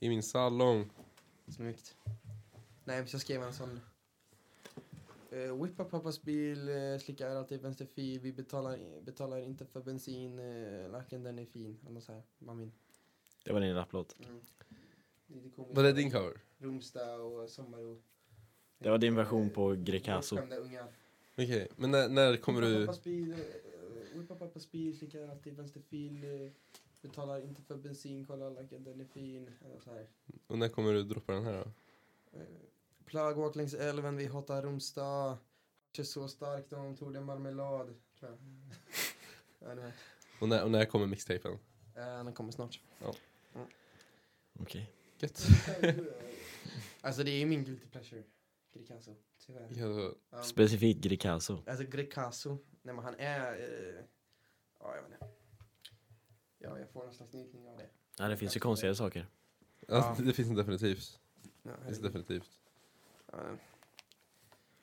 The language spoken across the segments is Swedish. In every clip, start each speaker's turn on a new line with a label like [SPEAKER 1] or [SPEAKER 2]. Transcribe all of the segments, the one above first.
[SPEAKER 1] i min salong.
[SPEAKER 2] Snyggt. Nej, så skrev han en sån... Uh, whippa pappas bil, uh, slickar alltid vänsterfil, vi betalar, betalar inte för bensin, uh, lacken den är fin. Eller nåt så här, mamin.
[SPEAKER 3] Det var din rapplåt.
[SPEAKER 2] Mm. Lite komiskt.
[SPEAKER 1] Var det din cover?
[SPEAKER 2] Rumsta och Sommaro.
[SPEAKER 3] Det var din version på Grecaso.
[SPEAKER 2] Bortskämda ungar.
[SPEAKER 1] Okej, men när, när kommer
[SPEAKER 2] Whippa
[SPEAKER 1] du...
[SPEAKER 2] pappas bil, eh, whippa pappas bil, slickar alltid vänsterfil, eh, betalar inte för bensin, kollar lacken den är fin. Eller så här.
[SPEAKER 1] Och när kommer du droppa den här då?
[SPEAKER 2] Eh, Plög åk längs älven, vi hatar Romstad. Kör så starkt om tog det marmelad. Tror jag. ja, det var.
[SPEAKER 1] Och när, och när kommer mixtapen?
[SPEAKER 2] Eh, den kommer snart.
[SPEAKER 3] Okej.
[SPEAKER 1] Gött.
[SPEAKER 2] alltså det är min guilty pleasure. Grecaso, tyvärr.
[SPEAKER 1] Ja, då-
[SPEAKER 2] Ja.
[SPEAKER 3] Specifikt Grecaso.
[SPEAKER 2] Alltså Grecaso, nej men han är... Eh, ja, jag vet inte. Ja, jag får någon slags njutning av det.
[SPEAKER 3] Ja, det finns ju konstigare saker.
[SPEAKER 1] ja.
[SPEAKER 2] Ja.
[SPEAKER 1] alltså, Det finns en definitivt.
[SPEAKER 2] Ja,
[SPEAKER 1] Det finns
[SPEAKER 2] herregud.
[SPEAKER 1] definitivt.
[SPEAKER 2] Ja.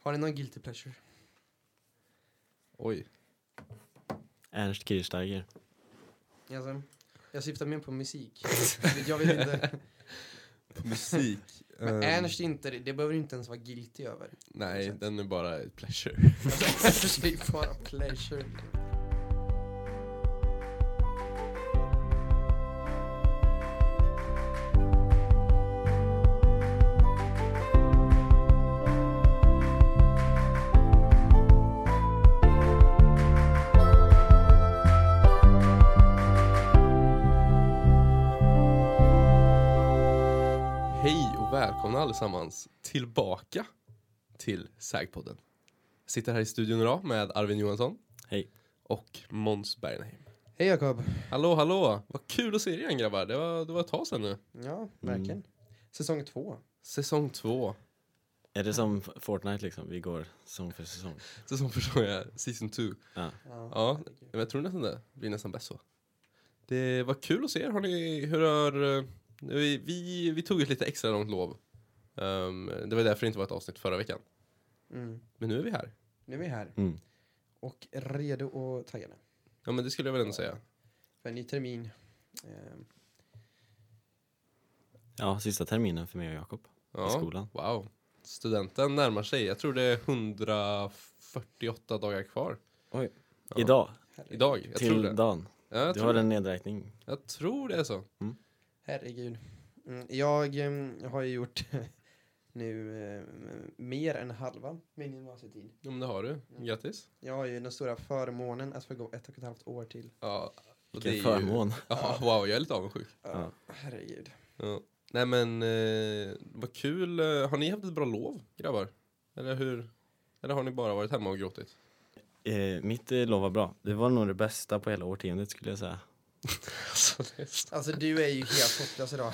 [SPEAKER 2] Har ni någon guilty pleasure?
[SPEAKER 1] Oj.
[SPEAKER 3] Ernst Kirchsteiger.
[SPEAKER 2] Alltså, jag syftar mer på musik. jag vet inte.
[SPEAKER 1] Musik.
[SPEAKER 2] Men
[SPEAKER 1] Ehm,
[SPEAKER 2] Ernst inte, det behöver du inte ens vara guilty över.
[SPEAKER 1] Nej, den är bara ett pleasure.
[SPEAKER 2] Alltså, det är bara pleasure.
[SPEAKER 1] Hej och välkomna allesammans tillbaka till Sägpodden. Jag sitter här i studion idag med Arvin Johansson.
[SPEAKER 3] Hej.
[SPEAKER 1] Och Måns Bergenheim.
[SPEAKER 2] Hej Jakob.
[SPEAKER 1] Hallå, hallå! Vad kul att se er igen grabbar. Det var, det var ett tag sedan nu.
[SPEAKER 2] Ja, verkligen. Mm. Säsong två.
[SPEAKER 1] Säsong två.
[SPEAKER 3] Är det som Fortnite liksom? Vi går säsong för säsong.
[SPEAKER 1] Säsong förstår jag. Season two.
[SPEAKER 2] Ja.
[SPEAKER 1] Ja,
[SPEAKER 2] herregud.
[SPEAKER 1] Men jag tror nästan det. Det blir nästan bäst så. Det var kul att se er. Har ni, hur har... eh, Vi, vi, vi tog ett lite extra långt lov. Ehm, det var därför det inte var ett avsnitt förra veckan.
[SPEAKER 2] Mm.
[SPEAKER 1] Men nu är vi här.
[SPEAKER 2] Nu är vi här
[SPEAKER 3] Mm.
[SPEAKER 2] och redo och taggade
[SPEAKER 1] Ja, men det skulle jag väl ändå säga.
[SPEAKER 2] för en ny termin. Ehm,
[SPEAKER 3] Ja, sista terminen för mig och Jakob i
[SPEAKER 1] Ja.
[SPEAKER 3] skolan.
[SPEAKER 1] Wow. Studenten närmar sig. Jag tror det är 148 dagar kvar. Ja.
[SPEAKER 3] Idag,
[SPEAKER 2] herregud.
[SPEAKER 1] Idag. Jag tror
[SPEAKER 3] till
[SPEAKER 1] det.
[SPEAKER 3] dagen.
[SPEAKER 1] Ja, jag,
[SPEAKER 3] Du har
[SPEAKER 1] tror,
[SPEAKER 3] en nedräkning.
[SPEAKER 1] jag tror det är så.
[SPEAKER 2] Herregud. Mm, jag ehm, har ju gjort nu ehm, mer än halva min gymnasietid.
[SPEAKER 1] Ja, men det har du.
[SPEAKER 2] Mm.
[SPEAKER 1] Grattis.
[SPEAKER 2] Jag har ju den stora förmånen att få gå ett och ett halvt år till.
[SPEAKER 1] Ja. och det är
[SPEAKER 3] Vilken
[SPEAKER 1] ju-
[SPEAKER 3] förmån.
[SPEAKER 1] Ja, wow, jag är lite avundsjuk.
[SPEAKER 2] Ja. Herregud.
[SPEAKER 1] Ja. Nej men, eh, vad kul. Eh, Har ni haft ett bra lov, grabbar? Eller hur? Eller har ni bara varit hemma och gråtit?
[SPEAKER 3] Eh, mitt eh, lov var bra. Det var nog det bästa på hela årtiondet skulle jag säga.
[SPEAKER 1] Alltså, det är st-
[SPEAKER 2] Alltså du är ju helt hopplös idag.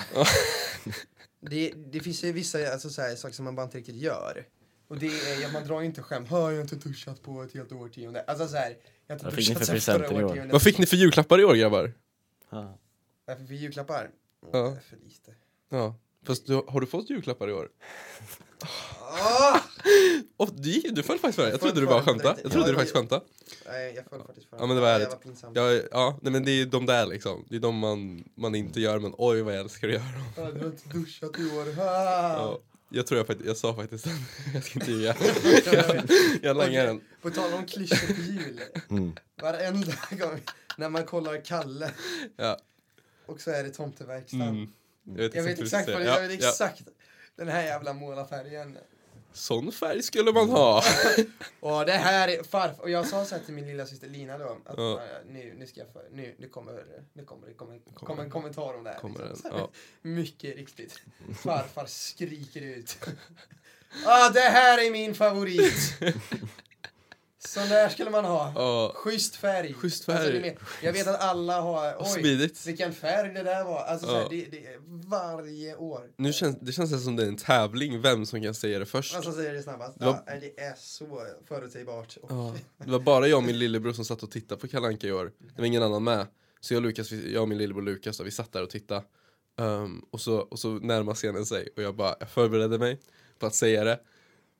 [SPEAKER 2] det, det finns ju vissa alltså, så här, saker som man bara inte riktigt gör. Och det är, ja, man drar ju inte skämt. Hör, jag har inte duschat på ett helt årtionde. Alltså så här, jag har
[SPEAKER 3] Vad
[SPEAKER 2] inte
[SPEAKER 3] fick ni
[SPEAKER 2] duschat
[SPEAKER 3] för
[SPEAKER 2] sen
[SPEAKER 3] presenter i
[SPEAKER 2] förra
[SPEAKER 3] år?
[SPEAKER 2] årtiondet.
[SPEAKER 1] vad fick ni för julklappar i år, grabbar?
[SPEAKER 3] Ja.
[SPEAKER 2] Vad fick vi julklappar?
[SPEAKER 1] Ja.
[SPEAKER 2] För lite.
[SPEAKER 1] Ja. Fast du, har du fått julklappar i år?
[SPEAKER 2] Ah!
[SPEAKER 1] Åh, du, gick- du föll faktiskt för det. Jag
[SPEAKER 2] Jag föll
[SPEAKER 1] trodde du
[SPEAKER 2] för
[SPEAKER 1] bara
[SPEAKER 2] det,
[SPEAKER 1] skämtade.
[SPEAKER 2] tänkte-
[SPEAKER 1] Jag trodde
[SPEAKER 2] Ja,
[SPEAKER 1] du faktiskt
[SPEAKER 2] jag-
[SPEAKER 1] skämtade.
[SPEAKER 2] Nej, jag föll faktiskt för
[SPEAKER 1] Ja, men det var
[SPEAKER 2] Det
[SPEAKER 1] ärligt.
[SPEAKER 2] var pinsamt.
[SPEAKER 1] Ja, ja, nej men det är ju de där liksom. Det är de man, man inte gör, men oj vad jag älskar att göra dem.
[SPEAKER 2] Ah, Du har inte duschat i år.
[SPEAKER 1] Ja.
[SPEAKER 2] Ah!
[SPEAKER 1] Jag tror jag faktiskt, jag sa faktiskt den. Jag ska inte ljuga.
[SPEAKER 2] Ja.
[SPEAKER 1] Jag langar den.
[SPEAKER 2] På tal om klyschor på jul.
[SPEAKER 3] Mm.
[SPEAKER 2] Varenda gång när man kollar Kalle.
[SPEAKER 1] Ja.
[SPEAKER 2] Och så är det tomteverkstan.
[SPEAKER 1] Mm.
[SPEAKER 2] Jag vet exakt
[SPEAKER 1] du
[SPEAKER 2] vad det
[SPEAKER 1] säger.
[SPEAKER 2] Jag vet
[SPEAKER 1] Ja, ja.
[SPEAKER 2] exakt. Den här jävla målarfärgen.
[SPEAKER 1] Sån färg skulle man ha.
[SPEAKER 2] Och det här är farfar. Och jag sa så här till min lilla syster Lina då. Att
[SPEAKER 1] Ja.
[SPEAKER 2] "Ah, nu, nu ska jag för, nu, nu kommer, nu kommer det kommer, kommer.
[SPEAKER 1] Kommer.
[SPEAKER 2] en kommentar om det här.
[SPEAKER 1] Kommer den,
[SPEAKER 2] liksom. Så här,
[SPEAKER 1] ja. Mm.
[SPEAKER 2] Mycket riktigt. Farfar skriker ut. ah, det här är min favorit. Sån där skulle man ha.
[SPEAKER 1] Ja,
[SPEAKER 2] Schysst färg.
[SPEAKER 1] Schysst
[SPEAKER 2] Alltså,
[SPEAKER 1] färg.
[SPEAKER 2] det är mer- jag vet att alla har,
[SPEAKER 1] och
[SPEAKER 2] oj,
[SPEAKER 1] smidigt.
[SPEAKER 2] vilken färg det där var. Alltså, så
[SPEAKER 1] Ja.
[SPEAKER 2] här, det, det är varje år.
[SPEAKER 1] Nu känns, det känns nästan som det är en tävling, vem som kan säga det först.
[SPEAKER 2] Alltså säger det snabbast.
[SPEAKER 1] Det var-
[SPEAKER 2] Ja, det är så förutsägbart. Och
[SPEAKER 1] Ja. Det var bara jag och min lillebror som satt och tittade på Kalle Anka i år. Det var ingen annan med. Så jag, och Lukas, vi- jag och min lillebror Lukas, då, vi satt där och tittade. Ehm, och, så, och så närmade scenen sig och jag bara, jag förberedde mig på att säga det.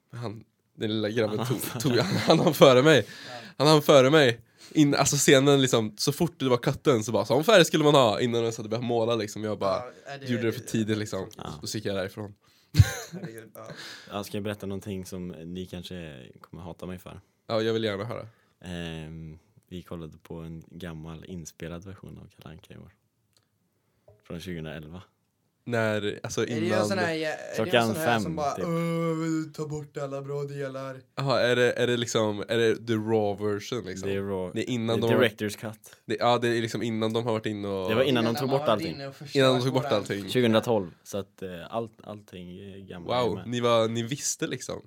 [SPEAKER 1] Men han, Den lilla grabben tog, tog han, han hann före mig. Han hann före mig. In, alltså scenen liksom, så fort det var cutten så bara sån färg skulle man ha innan de ens hade börjat måla liksom. Jag bara
[SPEAKER 2] Ja, är
[SPEAKER 1] gjorde det för tidigt liksom.
[SPEAKER 3] Ja.
[SPEAKER 1] Och så gick jag därifrån.
[SPEAKER 2] Herregud, ja.
[SPEAKER 3] Jag ska berätta någonting som ni kanske kommer hata mig för.
[SPEAKER 1] Ja, jag vill gärna höra.
[SPEAKER 3] Ehm, vi kollade på en gammal inspelad version av Kalle Anka i år. Från 2011.
[SPEAKER 1] När, alltså
[SPEAKER 2] Är det ju en
[SPEAKER 1] innan...
[SPEAKER 2] sån här, är det en
[SPEAKER 3] Klockan
[SPEAKER 2] sån här
[SPEAKER 3] fem,
[SPEAKER 2] som bara
[SPEAKER 3] typ.
[SPEAKER 2] typ. ta bort alla bra delar?
[SPEAKER 1] Jaha, är det, är det liksom, är det the raw version liksom?
[SPEAKER 3] Det är raw.
[SPEAKER 1] Det är innan
[SPEAKER 3] det är
[SPEAKER 1] de har,
[SPEAKER 3] director's cut.
[SPEAKER 1] det, ja, det är liksom innan de har varit inne och...
[SPEAKER 3] Det var Innan de
[SPEAKER 2] man
[SPEAKER 3] tog bort
[SPEAKER 2] har varit
[SPEAKER 3] allting.
[SPEAKER 2] inne och förstört
[SPEAKER 1] innan de tog bort
[SPEAKER 2] våran-
[SPEAKER 1] allting.
[SPEAKER 3] 2012. Så att eh, allt, allting är gammalt.
[SPEAKER 1] Wow, ni, var, ni visste liksom.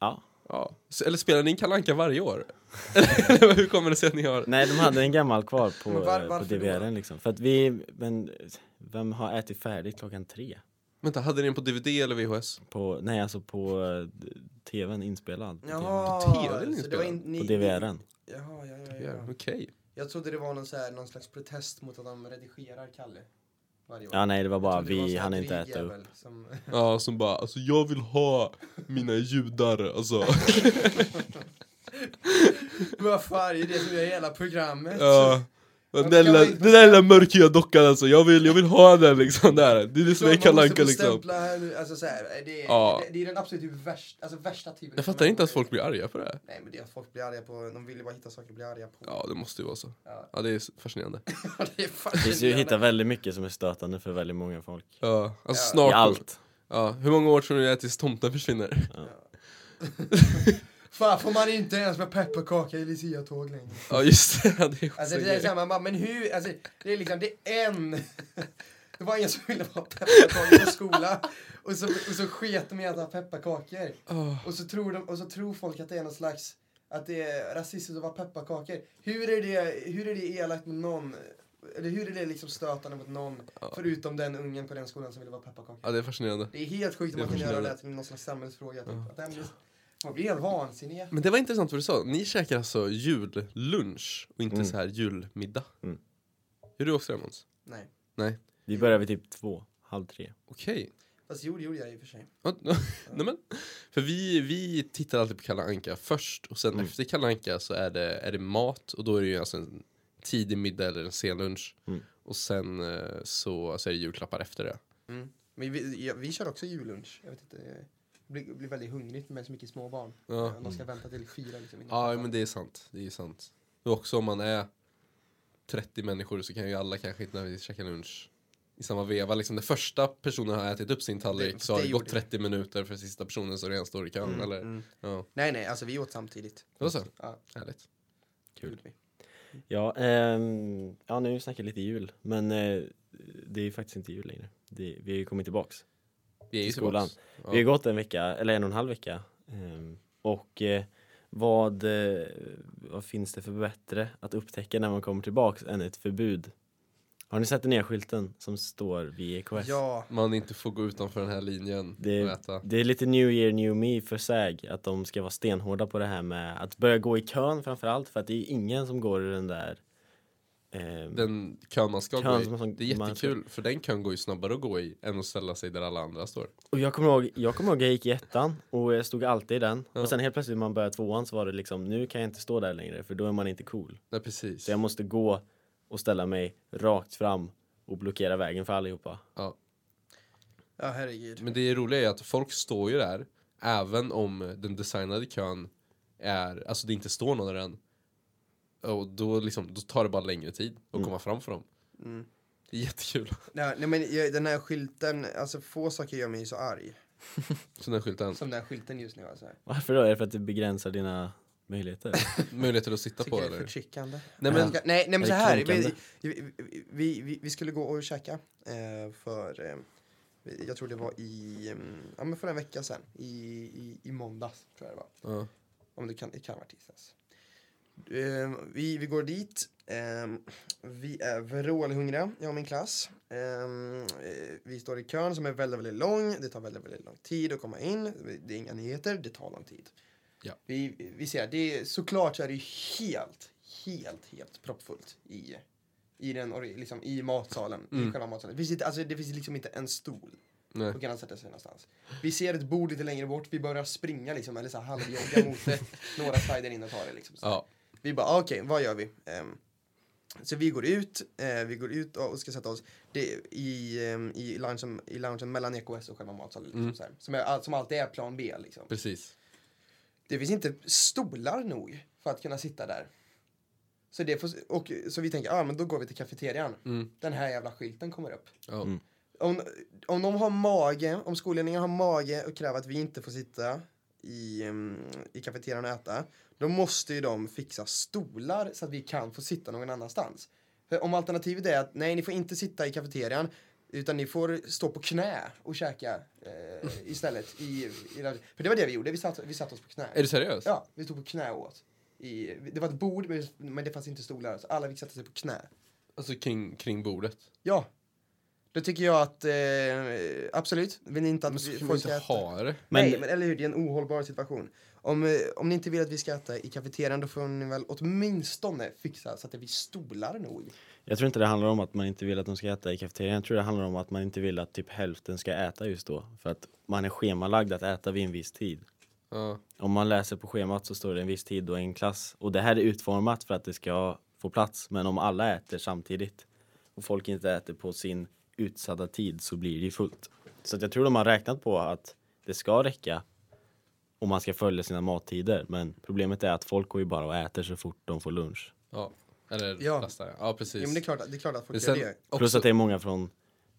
[SPEAKER 3] Ja.
[SPEAKER 1] Ja. Så, eller spelar ni in Kalle Anka varje år? Eller hur kommer det sig att ni har...
[SPEAKER 3] Nej, de hade en gammal kvar på,
[SPEAKER 2] Men var-
[SPEAKER 3] eh, på
[SPEAKER 2] varför då?
[SPEAKER 3] DVR-en liksom. För att vi, men eh, vem har ätit färdigt klockan tre?
[SPEAKER 1] Vänta, hade ni den på DVD eller VHS?
[SPEAKER 3] På, nej, alltså på eh, d- tvn inspelad. på
[SPEAKER 2] Jaha,
[SPEAKER 1] På TV är det
[SPEAKER 2] så det var
[SPEAKER 1] inspelat.
[SPEAKER 2] in,
[SPEAKER 3] TVn,
[SPEAKER 2] ni,
[SPEAKER 3] På DVR-en.
[SPEAKER 2] Jaha, ja, ja,
[SPEAKER 1] Ja,
[SPEAKER 2] ja.
[SPEAKER 1] Okej.
[SPEAKER 2] Jag trodde det var någon, så här, någon slags protest mot att de redigerar Kalle varje år.
[SPEAKER 3] Ja, nej, det var
[SPEAKER 2] Jag
[SPEAKER 3] bara
[SPEAKER 2] trodde det var en
[SPEAKER 3] vi
[SPEAKER 2] sån här
[SPEAKER 3] hann inte
[SPEAKER 2] dryg
[SPEAKER 3] äta upp.
[SPEAKER 2] jävel Som,
[SPEAKER 1] Ja, som bara, alltså jag vill ha mina judar, alltså.
[SPEAKER 2] Vad fan, det är det som gör hela programmet.
[SPEAKER 1] Ja. Den
[SPEAKER 2] kan
[SPEAKER 1] där lilla-
[SPEAKER 2] man inte
[SPEAKER 1] den där lilla mörkhyade dockan alltså, jag vill, jag vill ha den liksom där. Det är det som
[SPEAKER 2] Man
[SPEAKER 1] är Kalle
[SPEAKER 2] måste
[SPEAKER 1] Anka
[SPEAKER 2] få
[SPEAKER 1] liksom.
[SPEAKER 2] stämpla här nu, Alltså, så här, det, är,
[SPEAKER 1] Ja.
[SPEAKER 2] det, det är den absolut värsta, alltså, värsta typen.
[SPEAKER 1] Jag fattar inte att folk blir arga för det.
[SPEAKER 2] Nej men det är att folk blir arga på, de vill ju bara hitta saker att bli arga på.
[SPEAKER 1] Ja, det måste ju vara så.
[SPEAKER 2] Ja.
[SPEAKER 1] Ja, det är fascinerande.
[SPEAKER 2] det är fan
[SPEAKER 3] Det finns ju
[SPEAKER 2] genialt.
[SPEAKER 3] hitta väldigt mycket som är stötande för väldigt många folk.
[SPEAKER 1] Ja, alltså
[SPEAKER 2] Ja.
[SPEAKER 1] snart.
[SPEAKER 3] I allt.
[SPEAKER 1] Ja, hur många år tror ni det är tills tomten försvinner?
[SPEAKER 2] Fan får man inte ens med pepparkaka i luciatåg längre?
[SPEAKER 1] Ja, just det. Ja, det är
[SPEAKER 2] Alltså det är
[SPEAKER 1] skitsnyggt.
[SPEAKER 2] såhär, man bara, men hur, alltså det är liksom, det är en. Det var ingen som ville ha pepparkakor på skolan. Och så, och så sket de i att ha pepparkakor.
[SPEAKER 1] Åh.
[SPEAKER 2] Och så, tror de, och så tror folk att det är någon slags, att det är rasistiskt att vara pepparkakor. Hur är det, hur är det elakt mot någon? Eller hur är det liksom stötande mot någon? Förutom den ungen på den skolan som ville vara pepparkaka.
[SPEAKER 1] Ja, det är fascinerande.
[SPEAKER 2] Det är helt sjukt att
[SPEAKER 1] Det är
[SPEAKER 2] man kan göra
[SPEAKER 1] fascinerande.
[SPEAKER 2] det till någon slags samhällsfråga. Typ. Att den blir, man blir helt vansinnig.
[SPEAKER 1] Men det var intressant vad du sa. Ni käkar alltså jullunch och inte
[SPEAKER 3] Mm.
[SPEAKER 1] så här julmiddag.
[SPEAKER 3] Mm.
[SPEAKER 1] Gör du också det Måns?
[SPEAKER 2] Nej.
[SPEAKER 3] Vi börjar vid typ två, halv tre.
[SPEAKER 1] Okej.
[SPEAKER 2] Fast jo, det gjorde jag i och för sig.
[SPEAKER 1] Ja, Nej men. För vi, vi tittar alltid på Kalle Anka först och sen
[SPEAKER 3] Mm.
[SPEAKER 1] efter Kalle Anka så är det, är det mat och då är det ju alltså en tidig middag eller en sen lunch.
[SPEAKER 3] Mm.
[SPEAKER 1] Och sen eh, så, så är det julklappar efter det.
[SPEAKER 2] Mm. Men vi, ja, vi kör också jullunch. Jag vet inte. Det blir, blir väldigt hungrigt med så mycket små barn.
[SPEAKER 1] Ja.
[SPEAKER 2] De ska vänta till fyra. Liksom, innan
[SPEAKER 1] Ja,
[SPEAKER 2] de-
[SPEAKER 1] men det är sant. Det är sant. Och också om man är 30 människor så kan ju alla kanske inte när vi käkar lunch i samma veva. Liksom den första personen har ätit upp sin tallrik
[SPEAKER 2] Det-
[SPEAKER 1] så har
[SPEAKER 2] det
[SPEAKER 1] det gått
[SPEAKER 2] gjorde det.
[SPEAKER 1] 30 minuter för sista personen som redan står i kön. Eller?
[SPEAKER 2] Mm.
[SPEAKER 1] Ja.
[SPEAKER 2] Nej, nej, alltså vi åt samtidigt.
[SPEAKER 1] Det var så.
[SPEAKER 2] Ja.
[SPEAKER 1] Härligt.
[SPEAKER 3] Kul.
[SPEAKER 2] Gjorde vi.
[SPEAKER 3] Ja, ehm, ja nu snackar vi lite jul. Men eh, det är ju faktiskt inte jul längre. Det, vi har ju kommit tillbaks.
[SPEAKER 1] Vi är ju
[SPEAKER 3] Till skolan.
[SPEAKER 1] tillbaks. Ja.
[SPEAKER 3] Vi har gått en vecka, eller en och en halv vecka. ehm, och eh, vad, eh, vad finns det för bättre att upptäcka när man kommer tillbaks än ett förbud? Har ni sett den nya skylten som står vid E EKS?
[SPEAKER 2] Ja.
[SPEAKER 1] Man inte får gå utanför den här linjen
[SPEAKER 3] Det-
[SPEAKER 1] och äta.
[SPEAKER 3] Det är lite new year new me för SÄG att de ska vara stenhårda på det här med att börja gå i kön framförallt för att det är ingen som går i den där ehm,
[SPEAKER 1] Den kön man ska
[SPEAKER 3] Kön
[SPEAKER 1] gå
[SPEAKER 3] som-
[SPEAKER 1] i.
[SPEAKER 3] som
[SPEAKER 1] Det är
[SPEAKER 3] man-
[SPEAKER 1] jättekul för den kön går ju snabbare att gå i än att ställa sig där alla andra står.
[SPEAKER 3] Och jag kommer ihåg, jag kommer ihåg jag gick i ettan och jag stod alltid i den
[SPEAKER 1] Ja.
[SPEAKER 3] och sen helt plötsligt när man började tvåan så var det liksom nu kan jag inte stå där längre för då är man inte cool
[SPEAKER 1] Nej precis.
[SPEAKER 3] så jag måste gå och ställa mig rakt fram och blockera vägen för allihopa.
[SPEAKER 1] Ja.
[SPEAKER 2] ja, herregud.
[SPEAKER 1] Men det roliga är att folk står ju där även om den designade kön är, alltså det inte står någon där än. Och då liksom, då tar det bara längre tid att komma fram för dem.
[SPEAKER 2] Mm.
[SPEAKER 1] Det är jättekul.
[SPEAKER 2] Nej, nej, men jag- den här skylten, alltså få saker gör mig så arg.
[SPEAKER 1] Så den skylten,
[SPEAKER 2] Som den här skylten just nu alltså.
[SPEAKER 3] Varför då? Är det för att det begränsar dina möjligheter?
[SPEAKER 1] möjligheter att sitta
[SPEAKER 2] Tycker
[SPEAKER 1] på
[SPEAKER 2] det är
[SPEAKER 1] eller?
[SPEAKER 2] förtryckande.
[SPEAKER 1] Nej
[SPEAKER 2] Nej
[SPEAKER 1] men,
[SPEAKER 2] men, nej, nej, men så
[SPEAKER 3] Det är
[SPEAKER 2] här, vi,
[SPEAKER 3] kränkande.
[SPEAKER 2] vi, vi, vi, vi skulle gå och käka eh, för, eh, vi- jag tror det var i, mm, ja men för en vecka sedan, i, i, i måndags tror jag det var.
[SPEAKER 1] ja.
[SPEAKER 2] Om det kan, det kan vara tisdags. Eh, vi, vi går dit, eh, vi är vrålhungriga, jag och min klass. Eh, eh, vi står i kön som är väldigt, väldigt lång, det tar väldigt, väldigt lång tid att komma in. Det är inga nyheter, det tar lång tid.
[SPEAKER 1] Ja.
[SPEAKER 2] Vi, vi ser, det är, såklart så är det ju helt, helt, helt proppfullt i, i, den, ori- liksom, i matsalen. I
[SPEAKER 1] Mm.
[SPEAKER 2] själva matsalen. Det finns, inte, alltså, det finns liksom inte en stol.
[SPEAKER 1] Nej.
[SPEAKER 2] Då kan han sätta sig någonstans. Vi ser ett bord lite längre bort, vi börjar springa liksom, eller så här halvjogga mot det. Några slider in och tar det liksom. Så.
[SPEAKER 1] Ja.
[SPEAKER 2] Vi bara, ah, okej, vad gör vi? Ehm, så vi går ut, eh, vi går ut och ska sätta oss det, är i, ehm, i, loungen, i loungen mellan EKS och själva matsalen. Liksom,
[SPEAKER 1] Mm.
[SPEAKER 2] så här, som, är, all- som alltid är plan B liksom.
[SPEAKER 1] Precis.
[SPEAKER 2] Det finns inte stolar nog för att kunna sitta där. Så, det får, och, så vi tänker, ah, men då går vi till kafeterian.
[SPEAKER 1] Mm.
[SPEAKER 2] Den här jävla skylten kommer upp.
[SPEAKER 1] Ja.
[SPEAKER 3] Mm.
[SPEAKER 2] Om, om de har mage, om skolledningen har mage och kräver att vi inte får sitta i, ehm, i kafeterian och äta, då måste ju de fixa stolar så att vi kan få sitta någon annanstans. För om alternativet är att nej, ni får inte sitta i kafeterian, utan ni får stå på knä och käka eh, istället. I, i, för det var det vi gjorde, vi satt, vi satt oss på knä.
[SPEAKER 1] Är du seriös?
[SPEAKER 2] Ja, vi stod på knä och åt. I, det var ett bord, men, men det fanns inte stolar, så alla fick sätta sig på knä.
[SPEAKER 1] Alltså kring, kring bordet.
[SPEAKER 2] Ja. Då tycker jag att, eh, absolut, vill ni inte att
[SPEAKER 1] Men så
[SPEAKER 2] vi-
[SPEAKER 1] kan man
[SPEAKER 2] folk ska
[SPEAKER 1] inte
[SPEAKER 2] äta?
[SPEAKER 1] ha det.
[SPEAKER 3] Men-
[SPEAKER 2] Nej, men eller hur, det är en ohållbar situation. Om, eh, om ni inte vill att vi ska äta i kafeterian då får ni väl åtminstone fixa så att det blir stolar nog.
[SPEAKER 3] Jag tror inte det handlar om att man inte vill att de ska äta i kafeterian. Jag tror det handlar om att man inte vill att typ hälften ska äta just då. För att man är schemalagd att äta vid en viss tid.
[SPEAKER 1] Ja.
[SPEAKER 3] Om man läser på schemat så står det en viss tid och en klass. Och det här är utformat för att det ska få plats. Men om alla äter samtidigt och folk inte äter på sin utsatta tid så blir det ju fullt. Så att jag tror de har räknat på att det ska räcka om man ska följa sina mattider. Men problemet är att folk går ju bara och äter så fort de får lunch.
[SPEAKER 1] ja. Eller
[SPEAKER 2] Ja.
[SPEAKER 1] lastar. Ja, precis.
[SPEAKER 2] Jo men det är klart, att- det är klart att
[SPEAKER 1] Men
[SPEAKER 2] folk gör det.
[SPEAKER 1] sen
[SPEAKER 3] Plus
[SPEAKER 1] också,
[SPEAKER 3] att det är många från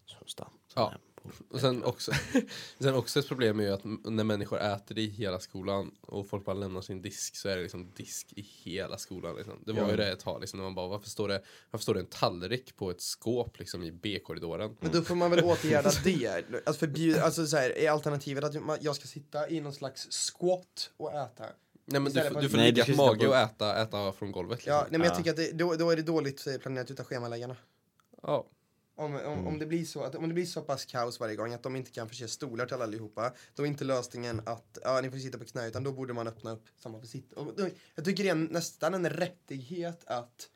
[SPEAKER 3] Sundstrand. som
[SPEAKER 1] Ja.
[SPEAKER 3] är på-
[SPEAKER 1] och sen, också, sen också ett problem är ju att m- när människor äter i hela skolan och folk bara lämnar sin disk så är det liksom disk i hela skolan. Liksom. Det var
[SPEAKER 3] Ja.
[SPEAKER 1] ju det ett tag liksom, när man bara varför står, det, varför står det en tallrik på ett skåp liksom, i B-korridoren?
[SPEAKER 2] Men då får man väl åtgärda det. Alltså förbjuda, alltså så här, är alternativet att man- jag ska sitta i någon slags squat och äta?
[SPEAKER 1] Nej men du,
[SPEAKER 2] Istället
[SPEAKER 1] får-
[SPEAKER 2] för-
[SPEAKER 1] du får
[SPEAKER 3] Nej,
[SPEAKER 1] ligga
[SPEAKER 3] du
[SPEAKER 1] på
[SPEAKER 3] ska
[SPEAKER 1] mage
[SPEAKER 3] sitta på-
[SPEAKER 1] och äta, äta från golvet. Liksom.
[SPEAKER 2] Ja, nej men jag
[SPEAKER 3] Ja.
[SPEAKER 2] tycker att det, då, då är det dåligt eh, planerat utav schemaläggarna.
[SPEAKER 1] Ja.
[SPEAKER 2] Om, om,
[SPEAKER 1] Mm.
[SPEAKER 2] om, det blir så att, om det blir så pass kaos varje gång att de inte kan förse stolar till allihopa, då är inte lösningen att ja, ni får sitta på knä, utan då borde man öppna upp så man får sitta. Och då, jag tycker det är en, nästan en rättighet att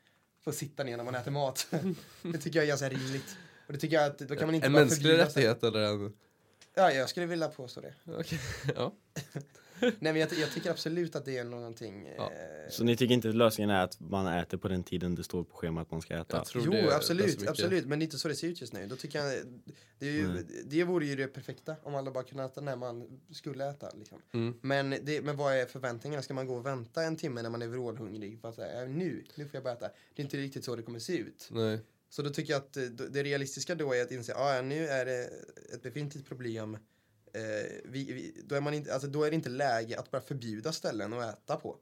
[SPEAKER 2] få sitta ner när man äter mat. det tycker jag är ganska rimligt. Och det tycker jag att då kan man inte
[SPEAKER 1] en
[SPEAKER 2] bara
[SPEAKER 1] mänsklig
[SPEAKER 2] förbjuda sig.
[SPEAKER 1] rättighet eller en...
[SPEAKER 2] Ja, jag skulle vilja påstå det.
[SPEAKER 1] Okej, ja.
[SPEAKER 2] Nej, men jag, jag tycker absolut att det är någonting.
[SPEAKER 1] Ja.
[SPEAKER 2] Eh,
[SPEAKER 3] Så ni tycker inte lösningen är att man äter på den tiden det står på schemat att man ska äta?
[SPEAKER 1] Jag tror det
[SPEAKER 2] Jo,
[SPEAKER 1] är så
[SPEAKER 2] absolut,
[SPEAKER 1] mycket.
[SPEAKER 2] absolut, men det är inte så det ser ut just nu. Då tycker jag, det, är ju, det vore ju det perfekta om alla bara kunde äta när man skulle äta. Liksom.
[SPEAKER 1] Mm.
[SPEAKER 2] Men, det, men vad är förväntningarna? Ska man gå och vänta en timme när man är vrålhungrig? För att säga, "Äh, nu, nu får jag bara äta. Det är inte riktigt så det kommer se ut.
[SPEAKER 1] Nej.
[SPEAKER 2] Så då tycker jag att eh, då- det realistiska då är att inse, ah, ja, nu är det ett befintligt problem. Eh, vi, vi, då, är man inte, alltså, då är det inte läge att bara förbjuda ställen att äta på.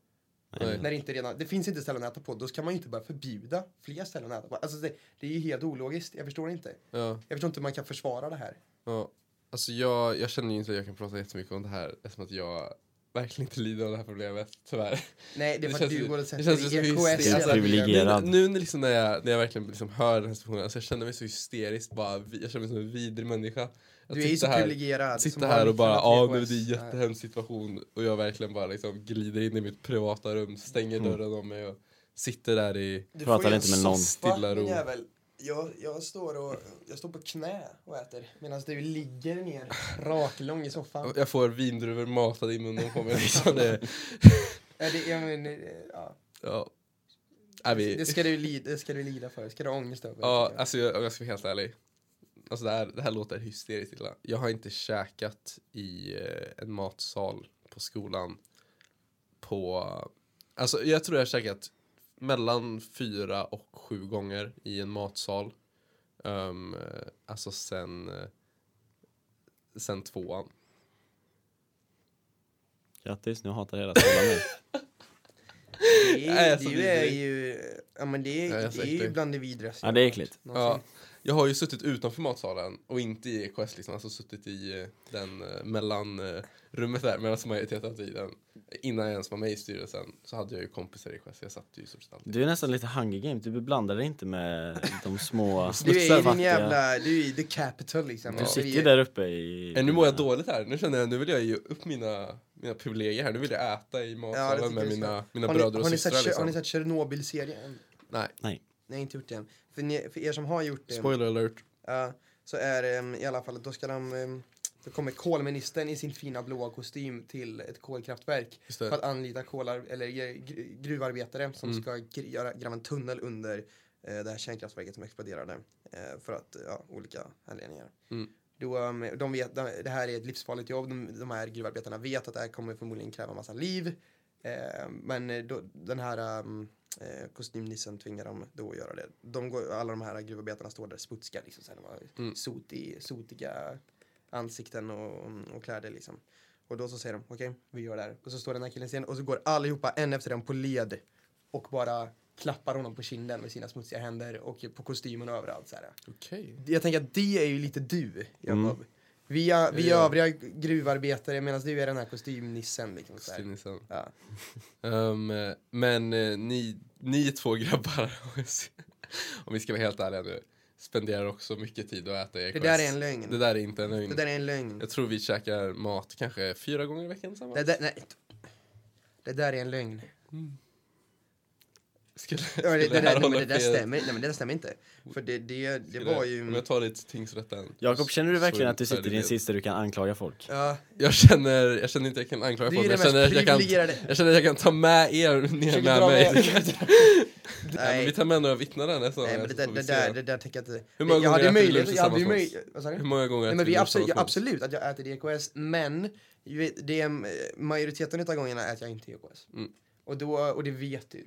[SPEAKER 1] Nej.
[SPEAKER 2] När det inte redan, det finns inte ställen att äta på, då ska man ju inte bara förbjuda fler ställen att äta på. Alltså det, det är ju helt ologiskt, jag förstår inte.
[SPEAKER 1] Ja.
[SPEAKER 2] Jag förstår inte hur man kan försvara det här.
[SPEAKER 1] Ja, alltså jag, jag känner ju inte att jag kan prata jättemycket om det här eftersom att jag verkligen inte lider av det här problemet, tyvärr.
[SPEAKER 2] Nej, det är
[SPEAKER 1] Det
[SPEAKER 2] för att
[SPEAKER 1] känns
[SPEAKER 2] du
[SPEAKER 1] ju-
[SPEAKER 2] går och
[SPEAKER 1] det
[SPEAKER 2] sätter
[SPEAKER 1] känns ju som
[SPEAKER 2] dig i EKS.
[SPEAKER 1] hysteriskt.
[SPEAKER 2] jävla
[SPEAKER 3] Privilegier.
[SPEAKER 2] miljö.
[SPEAKER 1] Nu,
[SPEAKER 3] Irrad.
[SPEAKER 1] nu när liksom när, jag, när jag verkligen liksom hör den här situationen, alltså jag känner mig så hysteriskt bara, vi- jag känner mig som en vidrig människa. Jag
[SPEAKER 2] Du är ju så
[SPEAKER 1] sitter här,
[SPEAKER 2] privilegierad. liksom, som
[SPEAKER 1] sitter
[SPEAKER 2] har
[SPEAKER 1] här och bara, ja
[SPEAKER 2] lyssnat till
[SPEAKER 1] ah, nu det är en
[SPEAKER 2] EKS. Nej.
[SPEAKER 1] jättehemsk situation och jag verkligen bara liksom glider in i mitt privata rum, stänger dörren om mig och sitter där i,
[SPEAKER 2] Du
[SPEAKER 3] Pratar
[SPEAKER 2] får ju
[SPEAKER 3] inte med
[SPEAKER 2] en
[SPEAKER 3] någon.
[SPEAKER 2] soffa,
[SPEAKER 1] Stilla
[SPEAKER 2] min
[SPEAKER 1] ro.
[SPEAKER 2] jävel. Jag, jag, står och, jag står på knä och äter medan du ligger ner raklång i soffan.
[SPEAKER 1] jag får vindruvor matade i munnen på mig liksom. Det,
[SPEAKER 2] Ja, det, jag men, eh, ja.
[SPEAKER 1] ja. Nej, vi-
[SPEAKER 2] det, ska du lida, det ska du lida för, det ska du ha ångest över.
[SPEAKER 1] Ja,
[SPEAKER 2] tycker jag.
[SPEAKER 1] alltså jag, om jag ska vara helt ärlig. Alltså det här, det här låter hysteriskt illa. Jag har inte käkat i eh, en matsal på skolan på... Alltså jag tror jag har käkat mellan fyra och sju gånger i en matsal. Ehm, eh, alltså sen, eh, sen tvåan.
[SPEAKER 3] Grattis, nu hatar hela skolan mig.
[SPEAKER 2] Det,
[SPEAKER 1] Nej,
[SPEAKER 2] är-
[SPEAKER 1] alltså,
[SPEAKER 2] det
[SPEAKER 1] det-
[SPEAKER 2] är ju, ja men det,
[SPEAKER 1] Ja, jag
[SPEAKER 2] är-
[SPEAKER 1] har
[SPEAKER 2] det
[SPEAKER 1] sagt
[SPEAKER 2] är ju
[SPEAKER 1] det.
[SPEAKER 2] bland det vidrigaste.
[SPEAKER 3] Ja, det är äckligt.
[SPEAKER 1] Ja, jag har ju suttit utanför matsalen och inte i EKS liksom, alltså suttit i eh, den eh, mellan eh, rummet där, medan majoriteten av tiden. Innan jag ens var med i styrelsen så hade jag ju kompisar i EKS, jag satt ju i stort sett alltid.
[SPEAKER 3] Du är nästan lite Hunger Games, du blandar dig inte med de små
[SPEAKER 2] Du är i din
[SPEAKER 3] fattiga-
[SPEAKER 2] jävla, du är i the capital liksom.
[SPEAKER 3] Du
[SPEAKER 2] Ja.
[SPEAKER 3] sitter
[SPEAKER 2] Vi-
[SPEAKER 3] ju där uppe i...
[SPEAKER 1] Äh, nu mår jag dåligt här, nu känner jag, nu vill jag ge upp mina, mina privilegier här, nu vill jag äta i matsalen
[SPEAKER 2] tycker
[SPEAKER 1] med
[SPEAKER 2] jag
[SPEAKER 1] mina, mina
[SPEAKER 2] Har ni-
[SPEAKER 1] bröder och
[SPEAKER 2] har ni
[SPEAKER 1] systrar
[SPEAKER 2] sett-
[SPEAKER 1] liksom.
[SPEAKER 2] Har ni sett Tjernobyl-serien?
[SPEAKER 1] Nej,
[SPEAKER 3] Nej.
[SPEAKER 2] Nej, inte gjort det än. För, ni, för er som har gjort det,
[SPEAKER 1] spoiler alert.
[SPEAKER 2] ja, Så är det em, i alla fall, då ska de em, då kommer kolministern i sin fina blåa kostym till ett kolkraftverk
[SPEAKER 1] Just
[SPEAKER 2] för
[SPEAKER 1] det.
[SPEAKER 2] att anlita kolar, eller gr- gr- gruvarbetare som
[SPEAKER 1] Mm.
[SPEAKER 2] ska gr- göra, gräva en tunnel under eh, det här kärnkraftverket som exploderade eh, för att, ja, olika anledningar.
[SPEAKER 1] Mm.
[SPEAKER 2] Då, em, de vet, de, det här är ett livsfarligt jobb, de, de här gruvarbetarna vet att det här kommer förmodligen kräva massa liv. Eh, men eh, då, den här em, eh, kostymnissen tvingar dem då att göra det. De går, alla de här gruvarbetarna står där och smutskar liksom, så här, de har
[SPEAKER 1] Mm.
[SPEAKER 2] sotig, sotiga ansikten och, och kläder liksom. Och då så säger de okej, vi gör det här. Och så står den här killen i scen och så går allihopa en efter en på led och bara klappar honom på kinden med sina smutsiga händer och på kostymen och överallt så här.
[SPEAKER 1] Okej.
[SPEAKER 2] Jag tänker att det är ju lite du, Jakob.
[SPEAKER 3] Mm.
[SPEAKER 2] Vi, är, vi
[SPEAKER 1] Ja.
[SPEAKER 2] är övriga gruvarbetare medan du är den här kostymnissen liksom. Så här.
[SPEAKER 1] Kostymnissen.
[SPEAKER 2] Ja.
[SPEAKER 1] Ehm, men eh, ni, ni två grabbar, om vi ska vara helt ärliga nu, spenderar också mycket tid att äta i
[SPEAKER 2] Det
[SPEAKER 1] EKS.
[SPEAKER 2] där är en lögn.
[SPEAKER 1] Det där är inte en
[SPEAKER 2] Det
[SPEAKER 1] lögn.
[SPEAKER 2] där är en lögn.
[SPEAKER 1] Jag tror vi käkar mat kanske fyra gånger i veckan tillsammans.
[SPEAKER 2] Det där, nej. Det där är en lögn.
[SPEAKER 1] Skulle,
[SPEAKER 2] Ja, men det, det,
[SPEAKER 1] skulle
[SPEAKER 2] där,
[SPEAKER 1] här
[SPEAKER 2] nej, men
[SPEAKER 1] hålla
[SPEAKER 2] det där
[SPEAKER 1] fel?
[SPEAKER 2] stämmer, nej, men det där stämmer inte. För det, det, det
[SPEAKER 1] Skulle-
[SPEAKER 2] var ju...
[SPEAKER 1] Om jag tar dig till tingsrätten.
[SPEAKER 3] Jakob, känner du
[SPEAKER 1] så är
[SPEAKER 3] verkligen
[SPEAKER 1] det
[SPEAKER 3] att du sitter i en
[SPEAKER 1] färdighet.
[SPEAKER 3] sits där du kan anklaga folk?
[SPEAKER 2] Ja,
[SPEAKER 1] Jag känner, jag känner inte jag kan anklaga
[SPEAKER 2] du
[SPEAKER 1] folk,
[SPEAKER 2] är
[SPEAKER 1] men
[SPEAKER 2] den mest
[SPEAKER 1] jag känner, att jag kan,
[SPEAKER 2] privilegierade.
[SPEAKER 1] jag känner att jag kan ta med er ner
[SPEAKER 2] Försöker
[SPEAKER 1] med
[SPEAKER 2] dra
[SPEAKER 1] mig.
[SPEAKER 2] med-
[SPEAKER 1] Nej, men vi tar med några vittnen där nästa
[SPEAKER 2] Nej
[SPEAKER 1] gång,
[SPEAKER 2] men det
[SPEAKER 1] så
[SPEAKER 2] där,
[SPEAKER 1] får
[SPEAKER 2] det
[SPEAKER 1] vi se.
[SPEAKER 2] där, det där tänker jag inte.
[SPEAKER 1] Hur många
[SPEAKER 2] jag
[SPEAKER 1] gånger
[SPEAKER 2] hade ju
[SPEAKER 1] äter du
[SPEAKER 2] möjlighet,
[SPEAKER 1] lunch
[SPEAKER 2] jag hade ju
[SPEAKER 1] tillsammans?
[SPEAKER 2] möjlighet, vad sa du?
[SPEAKER 1] Hur många gånger
[SPEAKER 2] Nej
[SPEAKER 1] äter
[SPEAKER 2] men vi
[SPEAKER 1] du
[SPEAKER 2] absolut,
[SPEAKER 1] tillsammans?
[SPEAKER 2] absolut att jag äter DKS, men ju vet, det är, eh, majoriteten av gångerna äter jag inte DKS.
[SPEAKER 1] Mm.
[SPEAKER 2] Och, då, och det vet du.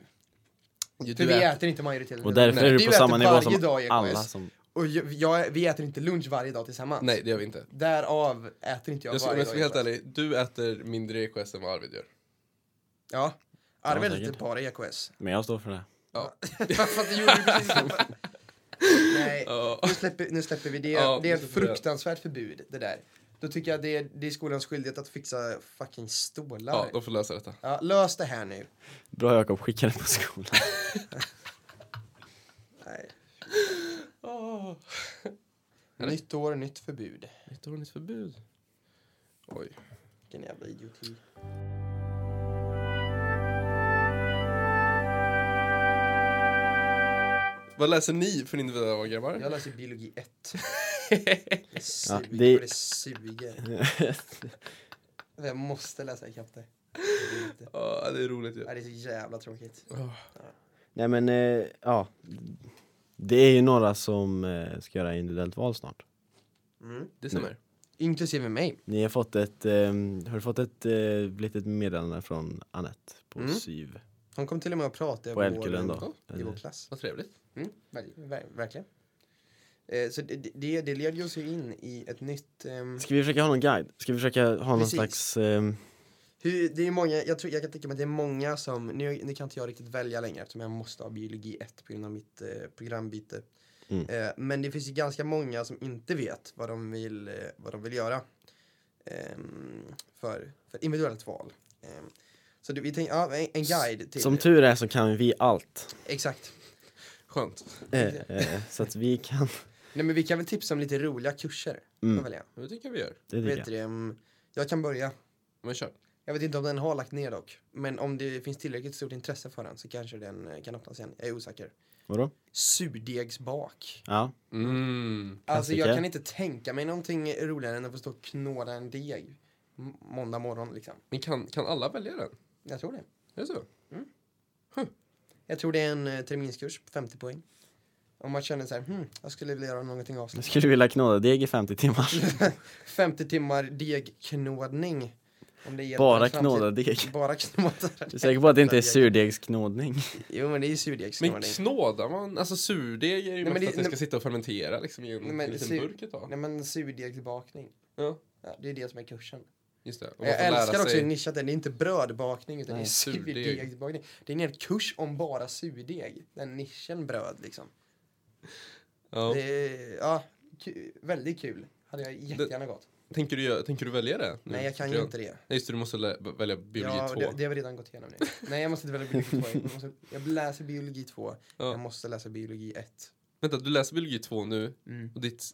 [SPEAKER 1] Du,
[SPEAKER 2] För
[SPEAKER 1] du
[SPEAKER 2] vi
[SPEAKER 1] äter.
[SPEAKER 2] äter inte majoriteten
[SPEAKER 3] Och
[SPEAKER 2] av
[SPEAKER 3] därför
[SPEAKER 2] gångerna.
[SPEAKER 3] är du
[SPEAKER 2] Du
[SPEAKER 3] på
[SPEAKER 2] äter
[SPEAKER 3] samma nivå
[SPEAKER 2] varje
[SPEAKER 3] som
[SPEAKER 2] dag i EKS.
[SPEAKER 3] alla som...
[SPEAKER 2] Och jag, jag, vi äter inte lunch varje dag tillsammans.
[SPEAKER 1] Nej, det gör vi inte.
[SPEAKER 2] Därav äter inte jag,
[SPEAKER 1] Jag ska, om
[SPEAKER 2] varje
[SPEAKER 1] jag
[SPEAKER 2] dag
[SPEAKER 1] ska vara helt
[SPEAKER 2] EKS.
[SPEAKER 1] ärlig, du äter mindre EKS än vad Arvid gör.
[SPEAKER 2] Ja. Arvid
[SPEAKER 3] Ja,
[SPEAKER 2] äter
[SPEAKER 3] säkert.
[SPEAKER 2] bara EKS.
[SPEAKER 3] Men jag står för det.
[SPEAKER 2] Fast det gjorde du precis inte. Nej.
[SPEAKER 1] Ja.
[SPEAKER 2] Nu släpper, nu släpper vi det.
[SPEAKER 1] Ja,
[SPEAKER 2] det är
[SPEAKER 1] nu
[SPEAKER 2] ett
[SPEAKER 1] släpper vi det.
[SPEAKER 2] fruktansvärt förbud, det där. Då tycker jag det är, det är skolans skyldighet att fixa fucking stålar.
[SPEAKER 1] ja,
[SPEAKER 2] Ja,
[SPEAKER 1] de får lösa detta.
[SPEAKER 2] lös det här nu.
[SPEAKER 3] Bra Jakob, skicka den på skolan.
[SPEAKER 2] Nej. Nytt år, nytt förbud.
[SPEAKER 1] Ett år, nytt förbud. Oj.
[SPEAKER 2] Vilken jävla idioti.
[SPEAKER 1] Vad läser ni för individuella grabbar?
[SPEAKER 2] Jag läser biologi 1. Det
[SPEAKER 3] Ja,
[SPEAKER 2] suger.
[SPEAKER 3] det-
[SPEAKER 2] det... suger. Jag måste läsa ikapp det.
[SPEAKER 1] Ja, det är roligt ju.
[SPEAKER 2] Ja, det är så jävla tråkigt.
[SPEAKER 1] Ja.
[SPEAKER 3] Nej men, eh, ja. Det är ju några som eh, ska göra individuellt val snart.
[SPEAKER 2] Mm.
[SPEAKER 1] Det stämmer.
[SPEAKER 2] Inklusive mig.
[SPEAKER 3] Ni har fått ett, eh, har du fått ett eh, litet meddelande från Anette på
[SPEAKER 2] Mm.
[SPEAKER 3] SYV?
[SPEAKER 2] Hon kom till och med och pratade
[SPEAKER 3] På Älvkullen
[SPEAKER 2] vår-
[SPEAKER 3] då?
[SPEAKER 2] i vår
[SPEAKER 3] Eh,
[SPEAKER 2] klass.
[SPEAKER 1] Vad trevligt.
[SPEAKER 2] Mm, ver- ver- verkligen. Eh, så det, det, det leder oss ju in i ett nytt... ehm,
[SPEAKER 3] Ska vi försöka ha någon guide? Ska vi försöka ha någon
[SPEAKER 2] Precis.
[SPEAKER 3] slags... ehm,
[SPEAKER 2] hur, det är många, jag, tror, jag kan tänka mig att det är många som... Nu, nu kan inte jag riktigt välja längre eftersom jag måste ha biologi 1 på grund av mitt eh, programbyte.
[SPEAKER 3] Mm.
[SPEAKER 2] Eh, men det finns ju ganska många som inte vet vad de vill, eh, vad de vill göra ehm, för, för individuellt val. Ehm, så det, vi tänker, ja, en, en guide till...
[SPEAKER 3] som typ- tur är så kan vi allt.
[SPEAKER 2] Exakt.
[SPEAKER 1] Skönt.
[SPEAKER 3] Eh, eh, så att vi kan...
[SPEAKER 2] Nej men vi kan väl tipsa om lite roliga kurser. Mm.
[SPEAKER 3] Mm,
[SPEAKER 2] Välja.
[SPEAKER 1] Men Det tycker jag vi gör.
[SPEAKER 3] det tycker
[SPEAKER 2] Vet
[SPEAKER 3] jag.
[SPEAKER 2] du, ehm, jag kan börja.
[SPEAKER 1] Men kör.
[SPEAKER 2] Jag vet inte om den har lagt ner dock. Men om det finns tillräckligt stort intresse för den så kanske den eh, kan öppnas igen. Jag är osäker.
[SPEAKER 3] Vadå?
[SPEAKER 2] Surdegsbak.
[SPEAKER 3] Ja.
[SPEAKER 1] Mm.
[SPEAKER 2] Alltså jag
[SPEAKER 3] Klassiker.
[SPEAKER 2] kan inte tänka mig någonting roligare än att få stå och knåda en deg. m- Måndag morgon liksom.
[SPEAKER 1] Men kan, kan alla välja den?
[SPEAKER 2] Jag tror det.
[SPEAKER 1] Är det så?
[SPEAKER 2] Jag tror det är en eh, terminskurs på 50 poäng. Om man känner så här, hm, jag skulle vilja göra någonting av
[SPEAKER 3] Jag
[SPEAKER 2] sig.
[SPEAKER 3] skulle vilja knåda deg i 50 timmar.
[SPEAKER 2] 50 timmar degknådning. Om det hjälper
[SPEAKER 3] Bara
[SPEAKER 2] i framtiden.
[SPEAKER 3] knåda deg.
[SPEAKER 2] Bara knåda.
[SPEAKER 3] Du är säker på att det inte är surdegsknådning?
[SPEAKER 2] Jo men det är ju
[SPEAKER 1] Men
[SPEAKER 2] surdegsknådning.
[SPEAKER 1] knådar man? Alltså surdeg är
[SPEAKER 2] Nej,
[SPEAKER 1] ju
[SPEAKER 2] men
[SPEAKER 1] mest
[SPEAKER 2] det-
[SPEAKER 1] att det ska
[SPEAKER 2] nej-
[SPEAKER 1] sitta och fermentera liksom i en
[SPEAKER 2] Nej, men
[SPEAKER 1] liten
[SPEAKER 2] sur-
[SPEAKER 1] burk ett tag.
[SPEAKER 2] Nej men surdegsbakning.
[SPEAKER 1] Ja,
[SPEAKER 2] Ja, det är det som är kursen.
[SPEAKER 1] just det. Och man
[SPEAKER 2] Jag
[SPEAKER 1] får lära
[SPEAKER 2] älskar också
[SPEAKER 1] sig-
[SPEAKER 2] hur nischat den. Det är inte brödbakning utan
[SPEAKER 3] Nej,
[SPEAKER 2] det är
[SPEAKER 1] surdeg.
[SPEAKER 2] surdegsbakning. Det är en hel kurs om bara surdeg. Den nischen bröd liksom.
[SPEAKER 1] Ja.
[SPEAKER 2] Det är, ja, ku- väldigt kul. Hade jag jättegärna gått.
[SPEAKER 1] Tänker, du, gö- tänker du välja det? nu?
[SPEAKER 2] Nej, jag kan
[SPEAKER 1] Tycker
[SPEAKER 2] ju inte det.
[SPEAKER 1] Nej, just det, du måste lä- välja biologi
[SPEAKER 2] ja,
[SPEAKER 1] 2.
[SPEAKER 2] det, det har vi redan gått igenom nu. Nej, jag måste inte välja biologi 2. Jag, måste, jag läser biologi 2.
[SPEAKER 1] Ja.
[SPEAKER 2] Jag måste läsa biologi 1.
[SPEAKER 1] Vänta, du läser biologi 2 nu
[SPEAKER 2] Mm.
[SPEAKER 1] och ditt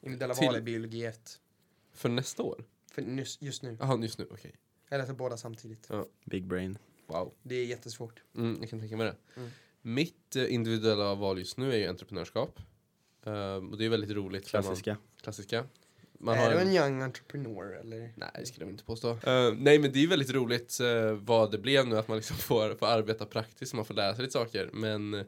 [SPEAKER 2] Individuella
[SPEAKER 1] Till-
[SPEAKER 2] val är biologi 1.
[SPEAKER 1] för nästa år?
[SPEAKER 2] För nyss, just nu.
[SPEAKER 1] Jaha, just nu, okej.
[SPEAKER 2] Jag läser båda samtidigt.
[SPEAKER 3] Big brain.
[SPEAKER 1] Wow.
[SPEAKER 2] Det är jättesvårt.
[SPEAKER 1] Mm, jag kan tänka mig det.
[SPEAKER 2] Mm.
[SPEAKER 1] Mitt eh, individuella val just nu är ju entreprenörskap. Ehm, och det är väldigt roligt. för
[SPEAKER 3] Klassiska.
[SPEAKER 1] Man, klassiska. Man
[SPEAKER 2] Är
[SPEAKER 1] har
[SPEAKER 2] du
[SPEAKER 1] en-
[SPEAKER 2] en young entrepreneur eller?
[SPEAKER 1] Nej, det skulle jag inte påstå. Eh, nej, men det är väldigt roligt eh, vad det blev nu, att man liksom får, får arbeta praktiskt och man får lära sig lite saker. Men eh,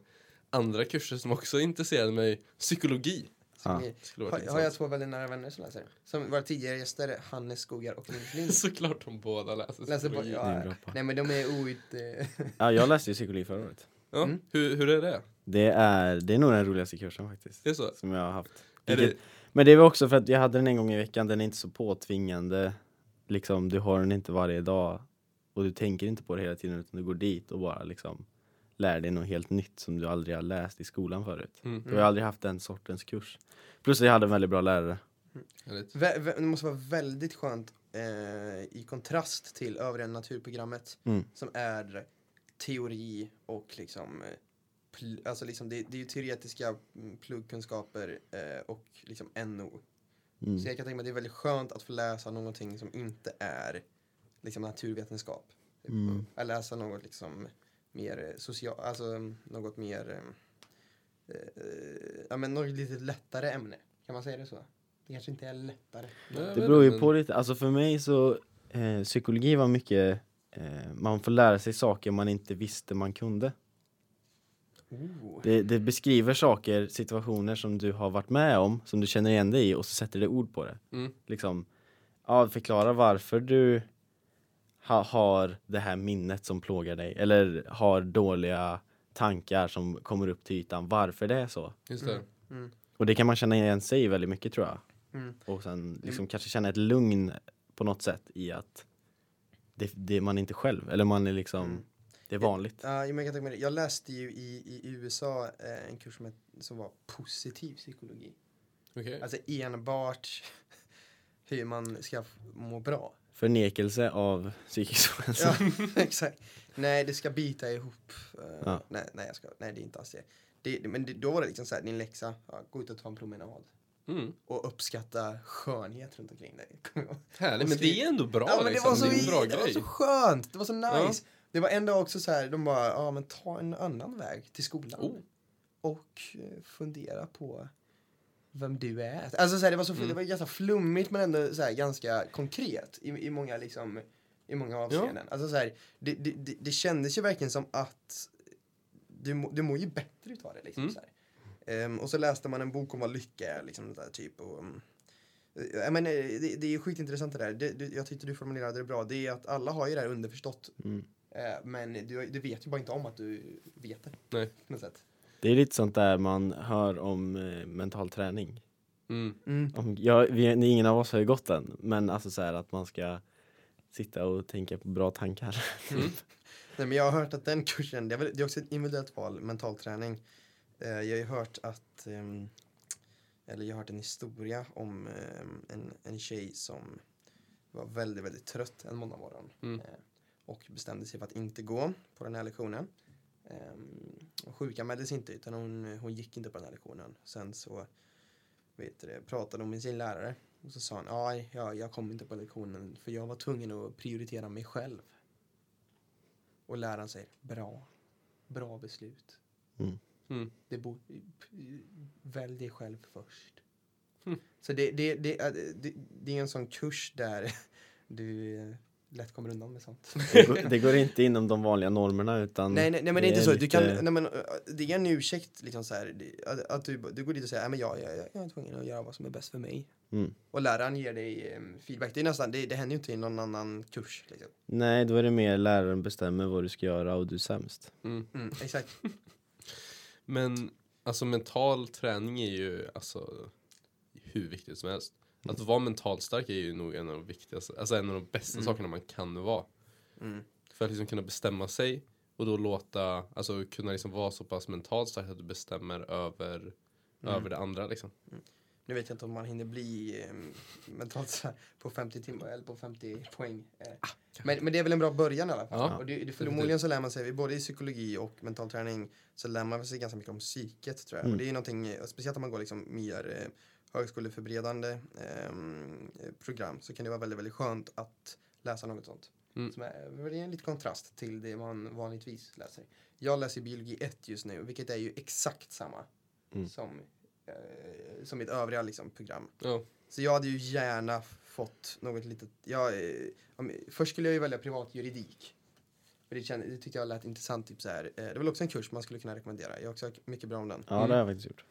[SPEAKER 1] andra kurser som också intresserade mig, psykologi.
[SPEAKER 3] Ja.
[SPEAKER 2] Ni-
[SPEAKER 1] Skulle
[SPEAKER 2] Har,
[SPEAKER 1] varit
[SPEAKER 2] har jag
[SPEAKER 1] intressant.
[SPEAKER 2] två väldigt nära vänner som läser? Som våra tidigare gäster, Hannes Skogar och Nils Lind.
[SPEAKER 1] Såklart de båda läser
[SPEAKER 2] Läser på,
[SPEAKER 1] psykologi.
[SPEAKER 3] Det är en
[SPEAKER 2] ja,
[SPEAKER 3] bra par.
[SPEAKER 2] nej men de är out... eh,
[SPEAKER 3] Ja, jag läste ju psykologi förra året.
[SPEAKER 1] Ja,
[SPEAKER 2] Mm.
[SPEAKER 1] hur, hur är det?
[SPEAKER 3] Det är, det är nog den roligaste kursen faktiskt.
[SPEAKER 1] Det är så?
[SPEAKER 3] Som jag har haft.
[SPEAKER 1] Är det,
[SPEAKER 3] Vilket- Men det var också för att jag hade den en gång i veckan, den är inte så påtvingande. Liksom, du har den inte varje dag och du tänker inte på det hela tiden utan du går dit och bara liksom lär dig något helt nytt som du aldrig har läst i skolan förut.
[SPEAKER 1] mm,
[SPEAKER 3] Du har aldrig haft den sortens kurs. Plus att jag hade en väldigt bra lärare.
[SPEAKER 1] härligt.
[SPEAKER 2] vä, vä, det måste vara väldigt skönt eh, i kontrast till övriga naturprogrammet
[SPEAKER 3] Mm.
[SPEAKER 2] som är teori och liksom, eh, pl, alltså liksom det, det är ju teoretiska mm, pluggkunskaper eh, och liksom NO.
[SPEAKER 3] Mm.
[SPEAKER 2] Så jag kan tänka mig att det är väldigt skönt att få läsa någonting som inte är liksom naturvetenskap. Typ.
[SPEAKER 3] Mm.
[SPEAKER 2] Att läsa något liksom mer socialt, alltså mm, något mer, eh, eh, ja men något lite lättare ämne. Kan man säga det så? Det kanske inte är lättare.
[SPEAKER 1] Ja, jag vet
[SPEAKER 3] Det beror ju
[SPEAKER 1] inte,
[SPEAKER 3] på lite, alltså för mig så eh, psykologi var mycket, eh, man får lära sig saker man inte visste man kunde.
[SPEAKER 2] Oh.
[SPEAKER 3] Det, det beskriver saker, situationer som du har varit med om, som du känner igen dig i och så sätter det ord på det.
[SPEAKER 1] Mm.
[SPEAKER 3] Liksom, ja, förklara varför du ha, har det här minnet som plågar dig eller har dåliga tankar som kommer upp till ytan, varför det är så.
[SPEAKER 1] Just det.
[SPEAKER 3] Och det kan man känna igen sig i väldigt mycket tror jag.
[SPEAKER 2] Mm.
[SPEAKER 3] Och sen liksom kanske känna ett lugn på något sätt i att det, det är man inte själv, eller man är liksom,
[SPEAKER 2] Mm.
[SPEAKER 3] det är vanligt.
[SPEAKER 2] Ja, men jag, kan tänka mig det. jag läste ju i, i USA eh, en kurs som, het, som var positiv psykologi.
[SPEAKER 1] Okej.
[SPEAKER 3] Mm.
[SPEAKER 2] Alltså enbart hur man ska f- må bra.
[SPEAKER 3] Förnekelse av psykisk ohälsa.
[SPEAKER 2] Ja, exakt. Nej, det ska bita ihop. Eh,
[SPEAKER 3] Ja.
[SPEAKER 2] nej, nej, jag ska, nej, det är inte alls det. det det- men det, då var det liksom så här, din läxa, ja, gå ut och ta en promenad.
[SPEAKER 1] Mm.
[SPEAKER 2] Och uppskatta skönhet runt omkring dig. Kommer jag ihåg.
[SPEAKER 1] Härligt,
[SPEAKER 2] Och
[SPEAKER 1] men
[SPEAKER 2] skri-
[SPEAKER 1] det är ändå bra
[SPEAKER 2] ja, men det,
[SPEAKER 1] liksom.
[SPEAKER 2] var så,
[SPEAKER 1] det är en bra
[SPEAKER 2] det var
[SPEAKER 1] grej.
[SPEAKER 2] så skönt, det var så
[SPEAKER 1] Ja.
[SPEAKER 2] nice. Det var ändå också så här, de bara, ja men ta en annan väg till skolan.
[SPEAKER 1] Oh.
[SPEAKER 2] Och eh, fundera på vem du är. Alltså så här, det var så
[SPEAKER 1] Mm.
[SPEAKER 2] det var ganska flummigt men ändå så här, ganska konkret i, i många liksom i många avseenden. Alltså så här, det, det, det, det kändes ju verkligen som att du, må- du mår ju bättre utav det liksom
[SPEAKER 1] Mm.
[SPEAKER 2] så här. Ehm, och så läste man en bok om vad lycka är liksom där, typ och mm, jag menar, det, det är skitintressant det där. Det, det, jag tyckte du formulerade det bra. Det är att alla har ju det här underförstått.
[SPEAKER 3] Mm.
[SPEAKER 2] Eh, men du, du vet ju bara inte om att du vet det.
[SPEAKER 1] Nej.
[SPEAKER 2] På något sätt.
[SPEAKER 3] Det är lite sånt där man hör om eh, mental träning.
[SPEAKER 1] Mm.
[SPEAKER 3] Om, jag, vi, ni- ingen av oss har ju gått den, men alltså så här att man ska sitta och tänka på bra tankar.
[SPEAKER 2] Nej, men jag har hört att den kursen, det är, väl, det är också ett individuellt val, mental träning. Eh, jag har ju hört att, ehm, eller jag har hört en historia om ehm, en, en tjej som var väldigt, väldigt trött en måndagmorgon.
[SPEAKER 1] Mm.
[SPEAKER 2] Eh, och bestämde sig för att inte gå på den här lektionen. Ehm, hon sjukanmäldes inte utan hon, hon gick inte på den här lektionen. Sen så vet du, det, pratade hon med sin lärare och så sa hon, nej jag, jag kom inte på lektionen för jag var tvungen att prioritera mig själv. Och läraren säger bra. Bra beslut.
[SPEAKER 3] Mm.
[SPEAKER 1] Mm.
[SPEAKER 2] Det bo- p- välj dig själv först.
[SPEAKER 1] Hmm.
[SPEAKER 2] Så det, det, det, är- det, det är en sån kurs där du eh, lätt kommer undan med sånt.
[SPEAKER 3] Det går, det går inte inom de vanliga normerna utan
[SPEAKER 2] Nej, nej, nej men det är inte så. Du kan,
[SPEAKER 3] lite-
[SPEAKER 2] nej, men, eh, det är en ursäkt liksom så här, det- att, att du, du går dit och säger att jag, jag, jag är tvungen att göra vad som är bäst för mig.
[SPEAKER 3] Mm.
[SPEAKER 2] Och läraren ger dig eh, feedback. Det, är nästan, det, det händer ju inte i någon annan kurs. Liksom.
[SPEAKER 3] Nej, då är det mer läraren bestämmer vad du ska göra och du är sämst.
[SPEAKER 1] Mm.
[SPEAKER 2] Mm, exakt.
[SPEAKER 1] Men alltså mental träning är ju alltså hur viktigt som helst.
[SPEAKER 2] Mm.
[SPEAKER 1] Att vara mentalt stark är ju nog en av de viktigaste, alltså en av de bästa
[SPEAKER 2] Mm.
[SPEAKER 1] sakerna man kan vara.
[SPEAKER 2] Mm.
[SPEAKER 1] För att liksom kunna bestämma sig och då låta, alltså kunna liksom vara så pass mentalt stark att du bestämmer över,
[SPEAKER 2] Mm.
[SPEAKER 1] över det andra liksom.
[SPEAKER 2] Nu vet jag inte om man hinner bli eh, mentalt så här, på 50 timmar eller på 50 poäng. Eh. men, men det är väl en bra början i alla fall.
[SPEAKER 1] Ja,
[SPEAKER 2] och det, det, förmodligen så lär man sig, både i psykologi och mental träning, så lär man sig ganska mycket om psyket tror jag.
[SPEAKER 3] Mm.
[SPEAKER 2] Och det är ju någonting, eh, speciellt om man går liksom mer eh, högskoleförberedande ehm, eh, program, så kan det vara väldigt, väldigt skönt att läsa något sånt.
[SPEAKER 1] Mm.
[SPEAKER 2] Som är, det är en liten kontrast till det man vanligtvis läser. Jag läser biologi 1 just nu, vilket är ju exakt samma
[SPEAKER 3] Mm.
[SPEAKER 2] som eh, som mitt övriga liksom, program.
[SPEAKER 1] Ja.
[SPEAKER 2] Så jag hade ju gärna fått något litet, jag, eh, om, först skulle jag ju välja privat juridik. För det, kände, det tyckte jag lät intressant, typ så här. Eh, det var väl också en kurs man skulle kunna rekommendera, jag har också hört mycket bra om den.
[SPEAKER 3] Ja,
[SPEAKER 1] Mm.
[SPEAKER 3] det har jag faktiskt gjort.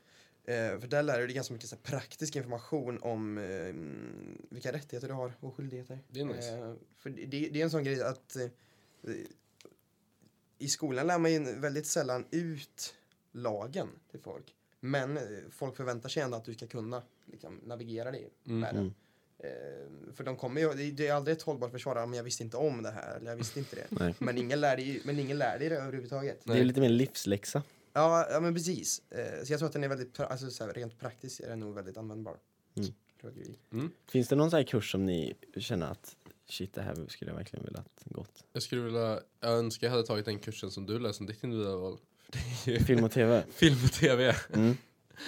[SPEAKER 2] Eh, för där lär du dig ganska mycket så här, praktisk information om eh, mm, vilka rättigheter du har och skyldigheter.
[SPEAKER 1] Det är nice.
[SPEAKER 2] Eh, för det, det det är en sån grej att eh, i skolan lär man ju väldigt sällan ut lagen till folk. Men eh, folk förväntar sig ändå att du ska kunna liksom, navigera dig
[SPEAKER 1] Mm.
[SPEAKER 2] med den. Eh, för de kommer ju, det- det är aldrig ett hållbart försvar, "Ja, men jag visste inte om det här, eller jag visste inte det.
[SPEAKER 3] Nej.
[SPEAKER 2] Men ingen lär dig, men ingen lär dig det överhuvudtaget.
[SPEAKER 3] Det är lite mer livsläxa.
[SPEAKER 2] Ja, ja men precis. Eh, så jag tror att den är väldigt, pra- alltså, så här, rent praktiskt är den nog väldigt användbar.
[SPEAKER 3] Mm.
[SPEAKER 2] Rådgivning.
[SPEAKER 3] Finns det någon sån här kurs som ni känner att shit, det här skulle jag verkligen velat gått?
[SPEAKER 1] Jag skulle vilja, jag önskar jag hade tagit den kursen som du läste som ditt individuella val. Det är ju
[SPEAKER 3] Film och tv?
[SPEAKER 1] film och tv.
[SPEAKER 3] Mm.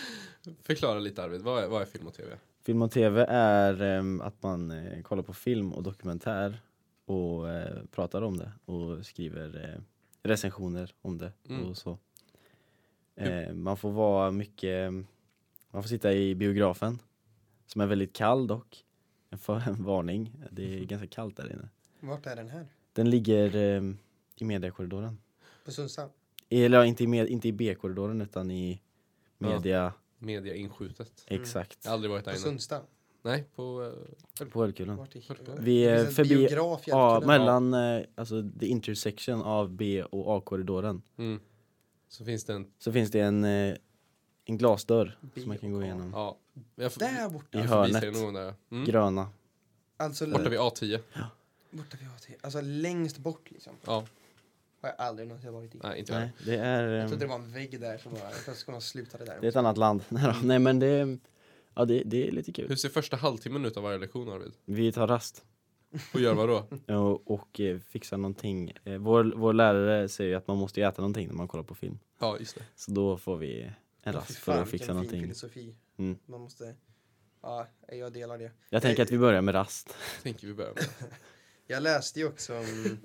[SPEAKER 1] Förklara lite Arvid, vad är, vad är film och tv?
[SPEAKER 3] Film och tv är ehm, att man eh, kollar på film och dokumentär och eh, pratar om det och skriver eh, recensioner om det
[SPEAKER 1] Mm.
[SPEAKER 3] och så. Eh, man får vara mycket, ehm, man får sitta i biografen som är väldigt kall dock. En, för, en varning, det
[SPEAKER 1] Mm.
[SPEAKER 3] är ganska kallt där inne.
[SPEAKER 2] Vart är den här?
[SPEAKER 3] Den ligger ehm, i mediakorridoren.
[SPEAKER 2] På Sundsvall?
[SPEAKER 3] Eller ja, inte i, med, inte i B-korridoren utan i
[SPEAKER 1] Ja. Mm.
[SPEAKER 3] media,
[SPEAKER 1] Mediainskjutet.
[SPEAKER 2] Mm.
[SPEAKER 3] exakt.
[SPEAKER 1] Jag har aldrig varit där
[SPEAKER 2] På
[SPEAKER 1] inne.
[SPEAKER 2] Sundsta?
[SPEAKER 1] Nej, på... eh,
[SPEAKER 3] På ölkulan.
[SPEAKER 2] Vart är
[SPEAKER 1] Vart går
[SPEAKER 2] det?
[SPEAKER 3] Vi är
[SPEAKER 2] finns en
[SPEAKER 3] förbi
[SPEAKER 2] biograf i
[SPEAKER 3] Ja,
[SPEAKER 2] Älvkullen.
[SPEAKER 3] mellan eh, alltså, the intersection av B och A-korridoren
[SPEAKER 1] mm. Så finns det
[SPEAKER 2] Mm.
[SPEAKER 1] en...
[SPEAKER 3] så finns det en, eh, en glasdörr
[SPEAKER 2] B
[SPEAKER 3] som man kan gå
[SPEAKER 2] och A.
[SPEAKER 3] igenom.
[SPEAKER 1] Ja. Jag får,
[SPEAKER 2] Där borta.
[SPEAKER 1] jag
[SPEAKER 3] I
[SPEAKER 1] får visa
[SPEAKER 3] hörnet.
[SPEAKER 1] er någon där. Mm.
[SPEAKER 3] Gröna.
[SPEAKER 2] Alltså,
[SPEAKER 1] Borta vid A10.
[SPEAKER 2] borta vid AT. Alltså längst bort liksom.
[SPEAKER 1] Ja,
[SPEAKER 2] Har jag aldrig någonsin varit i.
[SPEAKER 1] nej inte jag.
[SPEAKER 3] Nej, det är,
[SPEAKER 2] Jag
[SPEAKER 3] eh,
[SPEAKER 2] trodde det var en vägg där som bara, plötsligt skulle de sluta det där.
[SPEAKER 3] det är ett annat land. Nej, då. Nej men det, ja, det, det är lite kul.
[SPEAKER 1] Hur ser första halvtimmen ut av varje lektion Arvid?
[SPEAKER 3] Vi tar rast
[SPEAKER 1] Och gör vad då?
[SPEAKER 3] och, och eh, fixar någonting. Eh, Vår, vår lärare säger ju att man måste äta någonting när man kollar på film.
[SPEAKER 1] Ja, just det.
[SPEAKER 3] Så då får vi en
[SPEAKER 2] Åh, fy
[SPEAKER 3] rast Alltså, för
[SPEAKER 2] fan,
[SPEAKER 3] att fixa
[SPEAKER 2] vilken fin
[SPEAKER 3] någonting.
[SPEAKER 2] filosofi.
[SPEAKER 3] Mm.
[SPEAKER 2] Man måste, ja, jag delar det.
[SPEAKER 3] Jag tänker att vi börjar med rast.
[SPEAKER 1] Tänker vi börja med.
[SPEAKER 2] Jag läste ju också, mm,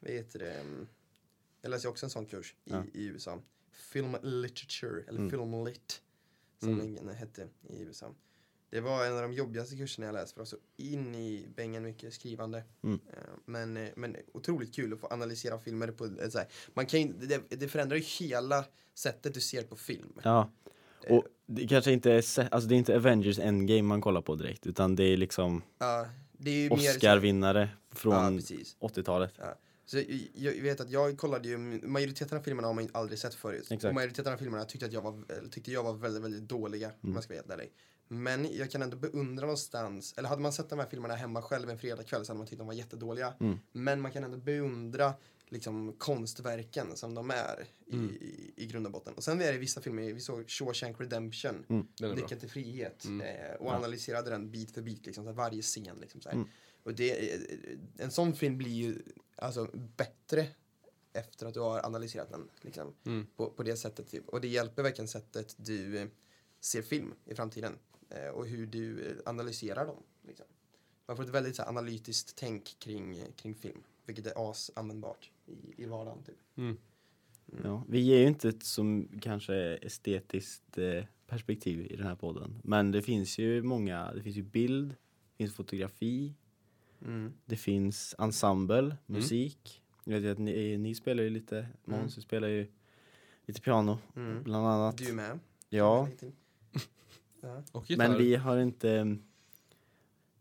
[SPEAKER 2] vad heter det, mm, jag läste ju också en sån kurs i,
[SPEAKER 3] Ja.
[SPEAKER 2] i USA. Film literature, eller
[SPEAKER 3] Mm.
[SPEAKER 2] film lit, som
[SPEAKER 1] Mm.
[SPEAKER 2] den hette i USA. Det var en av de jobbigaste kurserna jag läste, för det var så in i bängen mycket skrivande.
[SPEAKER 3] Mm.
[SPEAKER 2] Eh, Men, eh, men otroligt kul att få analysera filmer på ett så här. Man kan ju, det, det förändrar ju hela sättet du ser på film.
[SPEAKER 3] Ja.
[SPEAKER 2] Eh.
[SPEAKER 3] Och det kanske inte är, se- alltså det är inte Avengers Endgame man kollar på direkt utan det är liksom
[SPEAKER 2] Ja, det är ju mer så här-
[SPEAKER 3] Oscar-vinnare
[SPEAKER 2] Ja,
[SPEAKER 3] från
[SPEAKER 2] precis.
[SPEAKER 3] 80-talet.
[SPEAKER 2] Så jag, jag vet att jag kollade ju, majoriteten av filmerna har man ju aldrig sett förut.
[SPEAKER 3] Exakt.
[SPEAKER 2] Och majoriteten av filmerna tyckte, att jag var, eller tyckte jag var väldigt, väldigt dåliga om
[SPEAKER 3] Mm.
[SPEAKER 2] jag ska vara helt ärlig. Men jag kan ändå beundra någonstans, eller hade man sett de här filmerna hemma själv en fredagkväll så hade man tyckt de var jättedåliga.
[SPEAKER 3] Mm.
[SPEAKER 2] Men man kan ändå beundra liksom konstverken som de är i,
[SPEAKER 1] Mm.
[SPEAKER 2] i, i grund och botten. Och sen är det vissa filmer, vi såg Shawshank Redemption
[SPEAKER 1] Den är bra.
[SPEAKER 2] Nyckeln till frihet
[SPEAKER 1] Mm.
[SPEAKER 2] eh, och
[SPEAKER 3] Ja.
[SPEAKER 2] analyserade den bit för bit, liksom, så här, varje scen. Liksom, så här.
[SPEAKER 3] Mm.
[SPEAKER 2] Och det, eh, en sån film blir ju alltså, bättre efter att du har analyserat den liksom,
[SPEAKER 1] Mm.
[SPEAKER 2] på, på det sättet. Typ. Och det hjälper verkligen sättet du eh, ser film i framtiden eh, och hur du eh, analyserar dem. Liksom. Man får ett väldigt så här, analytiskt tänk kring, eh, kring film, vilket är asanvändbart i, i vardagen. Typ.
[SPEAKER 1] Mm.
[SPEAKER 3] Ja. Vi ger ju inte ett som kanske estetiskt eh, perspektiv i den här podden. Men det finns ju många, det finns ju bild, det finns fotografi,
[SPEAKER 1] Mm.
[SPEAKER 3] det finns
[SPEAKER 2] Mm.
[SPEAKER 3] ensemble, musik. Jag vet ju att ni, eh, ni spelar ju lite, Måns du spelar ju lite piano
[SPEAKER 2] Mm.
[SPEAKER 3] bland annat.
[SPEAKER 2] Du med?
[SPEAKER 3] Ja,
[SPEAKER 2] Ja.
[SPEAKER 1] Och gitarr.
[SPEAKER 3] men vi har inte,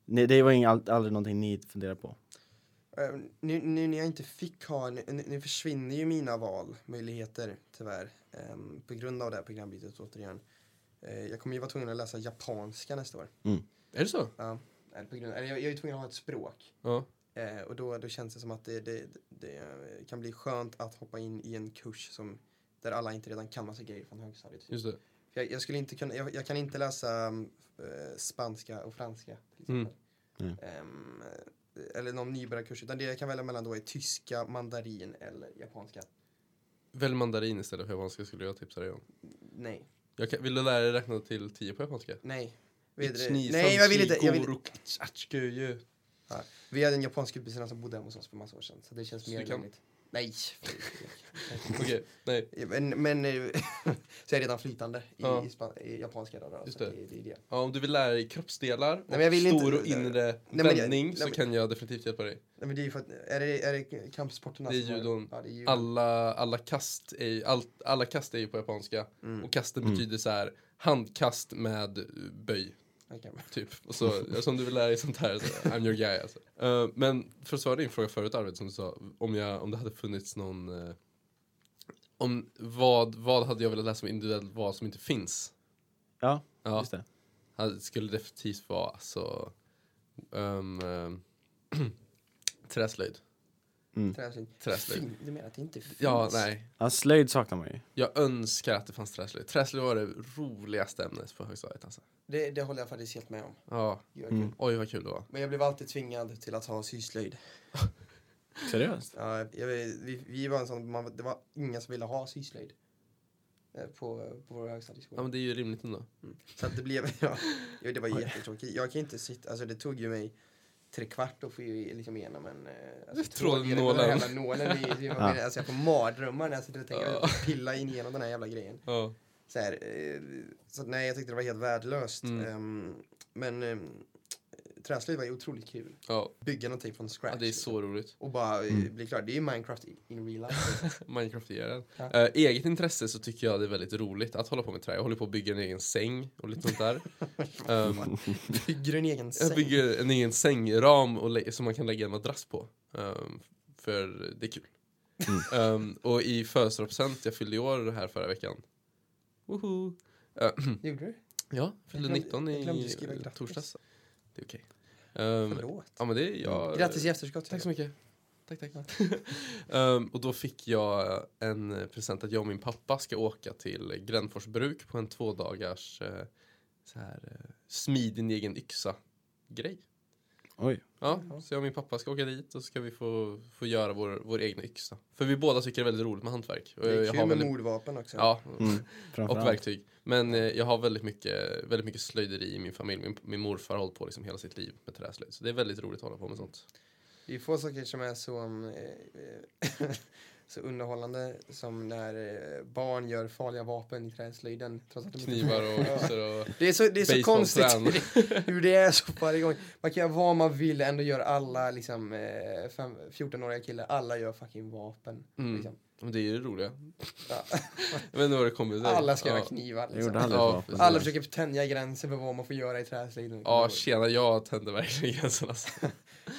[SPEAKER 3] nej, det var inget, aldrig någonting ni funderar på.
[SPEAKER 2] Eh, Nu, nu när jag inte fick ha, nu, nu nu försvinner ju mina valmöjligheter tyvärr ehm, på grund av det här programbytet återigen. Eh, jag kommer ju vara tvungen att läsa japanska nästa år.
[SPEAKER 1] Är det så?
[SPEAKER 2] Ja, eller på grund, eller jag, jag är ju tvungen att ha ett språk.
[SPEAKER 1] Ja.
[SPEAKER 2] Eh, och då, då känns det som att det, det, det eh, kan bli skönt att hoppa in i en kurs som, där alla inte redan kan massa grejer från högstadiet.
[SPEAKER 1] Just det.
[SPEAKER 2] För Jag, jag, skulle inte kunna, jag, jag kan inte läsa mm, eh, spanska och franska. Till exempel.
[SPEAKER 3] Mm.
[SPEAKER 2] Ehm, eh, eller någon nybörjarkurs. Utan det jag kan välja mellan då är tyska, mandarin eller japanska.
[SPEAKER 1] Välj mandarin istället för japanska skulle jag tipsa dig om.
[SPEAKER 2] Nej,
[SPEAKER 1] Jag kan, vill du lära dig räkna till tio på japanska?
[SPEAKER 2] nej. Vi hade,
[SPEAKER 1] Ichni,
[SPEAKER 2] nej, jag vill
[SPEAKER 1] sanchi,
[SPEAKER 2] inte. Jag vill,
[SPEAKER 1] goro, kach, ach, guju.
[SPEAKER 2] vi hade en japansk gubbe som bodde hemma hos oss för massa år sedan. Så det känns
[SPEAKER 1] Så
[SPEAKER 2] mer
[SPEAKER 1] du kan-
[SPEAKER 2] rimligt. Nej.
[SPEAKER 1] Okej, nej.
[SPEAKER 2] Men, men eh, så jag är redan flytande i,
[SPEAKER 1] Ja.
[SPEAKER 2] i, span- i japanska då. då
[SPEAKER 1] Just
[SPEAKER 2] så
[SPEAKER 1] det.
[SPEAKER 2] Det, det är det.
[SPEAKER 1] Ja, om du vill lära dig kroppsdelar och
[SPEAKER 2] men jag vill inte-
[SPEAKER 1] stor och inre
[SPEAKER 2] men jag-
[SPEAKER 1] vändning
[SPEAKER 2] nej,
[SPEAKER 1] så
[SPEAKER 2] men-
[SPEAKER 1] kan jag definitivt hjälpa dig.
[SPEAKER 2] Nej, men det är ju för att, är det, är det kampsporterna?
[SPEAKER 1] Det är
[SPEAKER 2] som har-
[SPEAKER 1] judon.
[SPEAKER 2] Ja, det är judon.
[SPEAKER 1] Alla, alla, kast är, ju- allt, alla kast är ju på japanska.
[SPEAKER 2] Mm.
[SPEAKER 1] Och kasten
[SPEAKER 3] Mm.
[SPEAKER 1] betyder så här handkast med eh, böj.
[SPEAKER 2] Okej.
[SPEAKER 1] Typ. Och så, som du vill lära dig sånt här, så I'm your guy alltså. Eh, men för att svara din fråga förut Arvid, som du sa, om, jag, om det hade funnits någon... eh, om vad, vad hade jag velat läsa om individuellt, vad som inte finns?
[SPEAKER 3] Ja,
[SPEAKER 1] Ja,
[SPEAKER 3] just det.
[SPEAKER 1] hade, skulle definitivt vara alltså... Um, träslöjd.
[SPEAKER 3] Mm.
[SPEAKER 2] Träslöjd.
[SPEAKER 1] Träslöjd.
[SPEAKER 2] Fin- Du menar att det inte finns?
[SPEAKER 1] Ja, nej.
[SPEAKER 3] Ja, slöjd saknar man ju.
[SPEAKER 1] Jag önskar att det fanns träslöjd. Träslöjd var det roligaste ämnet på högstadiet alltså.
[SPEAKER 2] Det, det håller jag faktiskt helt med om.
[SPEAKER 1] Ja,
[SPEAKER 2] Gör
[SPEAKER 3] Mm.
[SPEAKER 2] kul.
[SPEAKER 1] oj vad kul det var.
[SPEAKER 2] Men jag blev alltid tvingad till att ha syslöjd.
[SPEAKER 3] Seriöst?
[SPEAKER 2] Ja, jag, vet- vi, vi var en sån, man, det var ingen som ville ha syslöjd. eh, På, på vår högstadieskola.
[SPEAKER 1] Ja men det är ju rimligt ändå.
[SPEAKER 2] Så att det blev, ja, jo, det var jättetråkigt. Jag kan ju inte sitta, alltså det tog ju mig tre kvart att få ju liksom igenom en... eh, Alltså,
[SPEAKER 1] Tråden,
[SPEAKER 2] trådgrejen med
[SPEAKER 1] nålen.
[SPEAKER 2] den Jävla nålen i, i,
[SPEAKER 3] Ja.
[SPEAKER 2] alltså jag får mardrömmar när jag sitter och tänker
[SPEAKER 1] Ja.
[SPEAKER 2] jag vill pilla in igenom den här jävla grejen.
[SPEAKER 1] Ja.
[SPEAKER 2] Så, här, eh, så att, nej, jag tyckte det var helt värdelöst.
[SPEAKER 1] Mm.
[SPEAKER 2] Ehm, men um, träslöjd var ju otroligt kul.
[SPEAKER 1] Ja,
[SPEAKER 2] Bygga någonting från scratch.
[SPEAKER 1] ja det är
[SPEAKER 2] liksom.
[SPEAKER 1] så roligt.
[SPEAKER 2] Och bara eh,
[SPEAKER 3] Mm.
[SPEAKER 2] bli klar. Det är ju Minecraft i- in real life.
[SPEAKER 1] Minecraft är den.
[SPEAKER 2] Ja.
[SPEAKER 1] Eh, eget intresse så tycker jag det är väldigt roligt att hålla på med trä. Jag håller på att bygga en egen säng och lite sånt där. Ehm,
[SPEAKER 2] Bygger en egen säng.
[SPEAKER 1] jag bygger en egen sängram och lä- som man kan lägga en madrass på. Ehm, för det är kul.
[SPEAKER 2] Mm.
[SPEAKER 1] Ehm, och i födelsedagspresent, jag fyllde i år här förra veckan. Woho! Eh,
[SPEAKER 2] Gjorde du?
[SPEAKER 1] Ja, fyllde
[SPEAKER 2] glömde-
[SPEAKER 1] 19
[SPEAKER 2] jag glömde
[SPEAKER 1] i
[SPEAKER 2] skriva grattis.
[SPEAKER 1] torsdags. Det är okej. Ehm,
[SPEAKER 2] Förlåt.
[SPEAKER 1] ja, men det är jag.
[SPEAKER 2] Grattis i efterskott.
[SPEAKER 1] Tack så mycket. Tack, tack. Ehm, och då fick jag en present att jag och min pappa ska åka till Grännfors bruk på en två dagars eh, så här, eh, smid din egen yxa grej.
[SPEAKER 3] Oj.
[SPEAKER 1] Ja,
[SPEAKER 2] Jaha.
[SPEAKER 1] så jag och min pappa ska åka dit och så ska vi få, få göra vår, vår egna yxa. För vi båda tycker det är väldigt roligt med hantverk. Och
[SPEAKER 2] Det är
[SPEAKER 1] jag
[SPEAKER 2] kul
[SPEAKER 1] har
[SPEAKER 2] med
[SPEAKER 1] väldigt,
[SPEAKER 2] mordvapen också.
[SPEAKER 1] ja,
[SPEAKER 3] Mm.
[SPEAKER 1] och
[SPEAKER 3] Framförallt.
[SPEAKER 1] verktyg. Men eh, jag har väldigt mycket, väldigt mycket slöjderi i min familj. Min, min morfar har hållit på liksom hela sitt liv med träslöjd. Så det är väldigt roligt att hålla på med sånt.
[SPEAKER 2] Det är få saker som är så, um, eh, eh, så underhållande som när eh, barn gör farliga vapen i träslöjden. Trots att de inte-
[SPEAKER 1] Knivar och
[SPEAKER 2] Ja.
[SPEAKER 1] yxor och
[SPEAKER 2] Det är så, det är så konstigt
[SPEAKER 1] basebollträn.
[SPEAKER 2] hur det- hur det är så varje gång. Man kan göra vad man vill, ändå gör alla liksom, eh, fem- 14-åriga killar, alla gör fucking vapen.
[SPEAKER 1] Mm.
[SPEAKER 2] Liksom.
[SPEAKER 1] Men det är ju det roliga.
[SPEAKER 2] Ja.
[SPEAKER 1] Jag vet inte vad det kommer sig.
[SPEAKER 2] Alla ska
[SPEAKER 1] ja.
[SPEAKER 2] göra knivar.
[SPEAKER 3] Jag gjorde
[SPEAKER 2] Liksom.
[SPEAKER 3] aldrig
[SPEAKER 1] Ja,
[SPEAKER 3] ett vapen.
[SPEAKER 1] precis.
[SPEAKER 2] Alla försöker tänja gränser för vad man får göra i träslöjden.
[SPEAKER 1] Ja, tjena, jag tände verkligen gränsen alltså.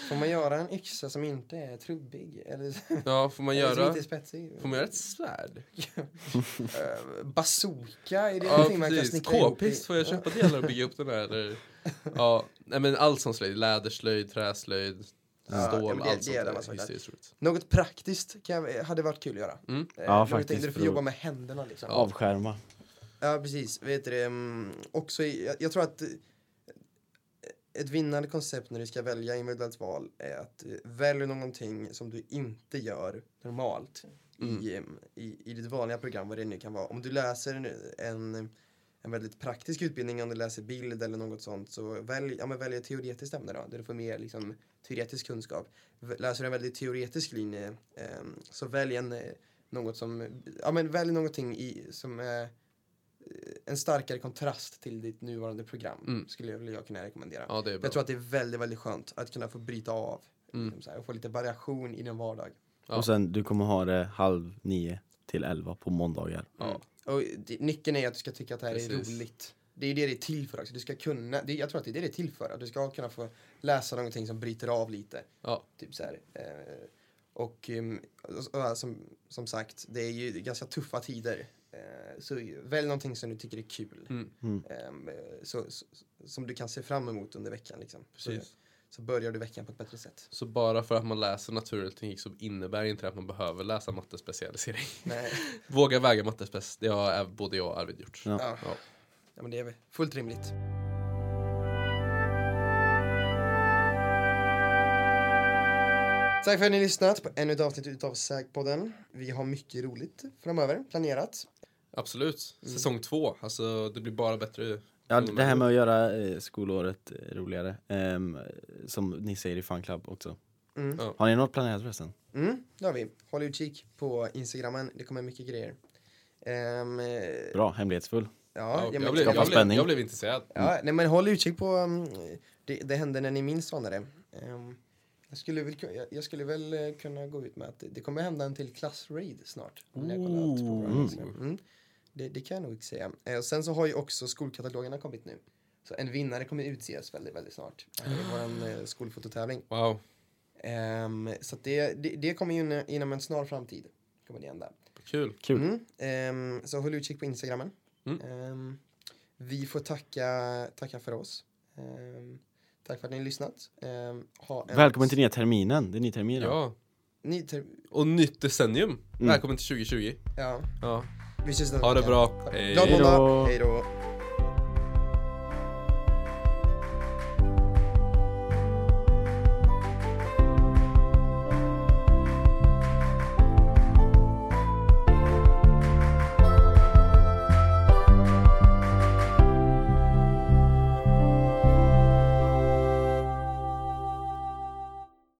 [SPEAKER 2] får man göra en yxa som inte är trubbig? Eller
[SPEAKER 1] Ja, får man
[SPEAKER 2] eller som
[SPEAKER 1] göra,
[SPEAKER 2] inte är spetsig?
[SPEAKER 1] får man göra ett svärd?
[SPEAKER 2] Eh, bazooka, är det
[SPEAKER 1] Ja,
[SPEAKER 2] någonting man kan
[SPEAKER 1] precis.
[SPEAKER 2] snickra ihop i?
[SPEAKER 1] K-pist, får jag köpa delar och bygga upp den här? Eller? Ja, nej men allt som slöjd. Läderslöjd, träslöjd,
[SPEAKER 2] Ja, ja, men
[SPEAKER 1] stål,
[SPEAKER 2] det- det är
[SPEAKER 1] allt sånt
[SPEAKER 2] där
[SPEAKER 1] där.
[SPEAKER 2] man slöjdar.
[SPEAKER 1] Hysteriskt roligt.
[SPEAKER 2] Något praktiskt kan jag, hade varit kul att göra.
[SPEAKER 1] Mm.
[SPEAKER 2] Eh,
[SPEAKER 3] Ja,
[SPEAKER 2] något
[SPEAKER 3] faktiskt,
[SPEAKER 2] där Du
[SPEAKER 3] för
[SPEAKER 2] får
[SPEAKER 3] då-
[SPEAKER 2] jobba med händerna liksom. Ja,
[SPEAKER 3] Avskärma.
[SPEAKER 2] precis. Vet du, det, mm, också i, jag, jag tror att eh, ett vinnande koncept när du ska välja individuellt val är att eh, välja någonting som du inte gör normalt
[SPEAKER 1] Mm.
[SPEAKER 2] i, eh, i, i ditt vanliga program, vad det nu kan vara. Om du läser en, en, en väldigt praktisk utbildning, om du läser bild eller något sånt, så välj, ja, men välj ett teoretiskt ämne då, där du får mer liksom, teoretisk kunskap. V- Läser du en väldigt teoretisk linje, ehm, så välj en, eh, något som, ja men välj någonting i, som är eh, en starkare kontrast till ditt nuvarande program,
[SPEAKER 1] Mm.
[SPEAKER 2] skulle jag, jag kunna rekommendera.
[SPEAKER 1] Ja, det är bra.
[SPEAKER 2] Jag tror att det är väldigt, väldigt skönt att kunna få bryta av
[SPEAKER 1] Mm.
[SPEAKER 2] liksom så här, och få lite variation i din vardag.
[SPEAKER 1] Ja.
[SPEAKER 3] Och sen, du kommer ha det halv nio till elva på måndagar.
[SPEAKER 1] ja.
[SPEAKER 2] Och det, nyckeln är att du ska tycka att det här
[SPEAKER 1] Precis.
[SPEAKER 2] är roligt. Det är det det är till för också. Du ska kunna, det, jag tror att det är det det är till för. Att du ska kunna få läsa någonting som bryter av lite.
[SPEAKER 1] Ja.
[SPEAKER 2] Typ så här. Eh, och ehm, och- och som, som sagt, det är ju ganska tuffa tider. Eh, så välj någonting som du tycker är kul.
[SPEAKER 1] Mm.
[SPEAKER 3] Mm.
[SPEAKER 2] Ehm, eh, så, så, som du kan se fram emot under veckan. Liksom. Så,
[SPEAKER 1] Precis.
[SPEAKER 2] så börjar du veckan på ett bättre sätt.
[SPEAKER 1] Så bara för att man läser naturteknik så innebär inte det att man behöver läsa mattespecialisering.
[SPEAKER 2] Nej,
[SPEAKER 1] Våga väga mattespec, det har äv- både jag och Arvid gjort.
[SPEAKER 3] Ja.
[SPEAKER 2] ja.
[SPEAKER 1] Ja.
[SPEAKER 2] Ja, men det är väl fullt rimligt. Tack för att ni har lyssnat på ännu ett avsnitt utav SÄG-podden. Vi har mycket roligt framöver planerat.
[SPEAKER 1] Absolut.
[SPEAKER 2] Mm.
[SPEAKER 1] Säsong två, alltså det blir bara bättre.
[SPEAKER 3] Ja, det här med att göra eh, skolåret eh, roligare, ehm, som ni säger i Fun Club också.
[SPEAKER 2] Mm.
[SPEAKER 3] Har ni något planerat förresten?
[SPEAKER 2] Mm, det har vi. Håll utkik på Instagrammen, det kommer mycket grejer. Ehm, eh,
[SPEAKER 3] Bra, hemlighetsfull.
[SPEAKER 2] ja, ja,
[SPEAKER 1] jag,
[SPEAKER 2] men-
[SPEAKER 1] blev, jag,
[SPEAKER 3] skapa
[SPEAKER 1] blev,
[SPEAKER 3] spänning.
[SPEAKER 1] jag blev intresserad.
[SPEAKER 2] Ja, nej, men håll utkik på um, det, det hände när ni minns vanare. Ehm, jag, skulle väl, ku- jag, jag skulle väl eh, kunna gå ut med att det, det kommer hända en till klassraid snart. om ni har kollat på vår
[SPEAKER 1] Ooh.
[SPEAKER 2] Instagram. Mm, det, det kan jag nog säga. Eh, sen så har ju också skolkatalogerna kommit nu. Så en vinnare kommer utses väldigt, väldigt snart. eh, I vår eh, skolfototävling.
[SPEAKER 1] Wow.
[SPEAKER 2] Ehm, så att det, det, det kommer ju in, inom en snar framtid. Kommer det hända.
[SPEAKER 1] Kul.
[SPEAKER 3] Kul.
[SPEAKER 2] Mm. ehm, så håll utkik på Instagrammen.
[SPEAKER 1] Mm.
[SPEAKER 2] Ehm, vi får tacka, tacka för oss. Ehm, tack för att ni har lyssnat. Ehm, ha en
[SPEAKER 3] Välkommen till nya terminen. Det är ny termin idag.
[SPEAKER 1] Ja.
[SPEAKER 2] ny ter-
[SPEAKER 1] Och nytt decennium.
[SPEAKER 3] Mm.
[SPEAKER 1] Välkommen till 2020.
[SPEAKER 2] ja,
[SPEAKER 1] Ja.
[SPEAKER 2] vi ses nästa
[SPEAKER 1] Ha det
[SPEAKER 2] vecka.
[SPEAKER 1] bra.
[SPEAKER 2] Tack.
[SPEAKER 1] Hej.
[SPEAKER 2] Glad
[SPEAKER 3] Hej då.
[SPEAKER 2] måndag. Hej då.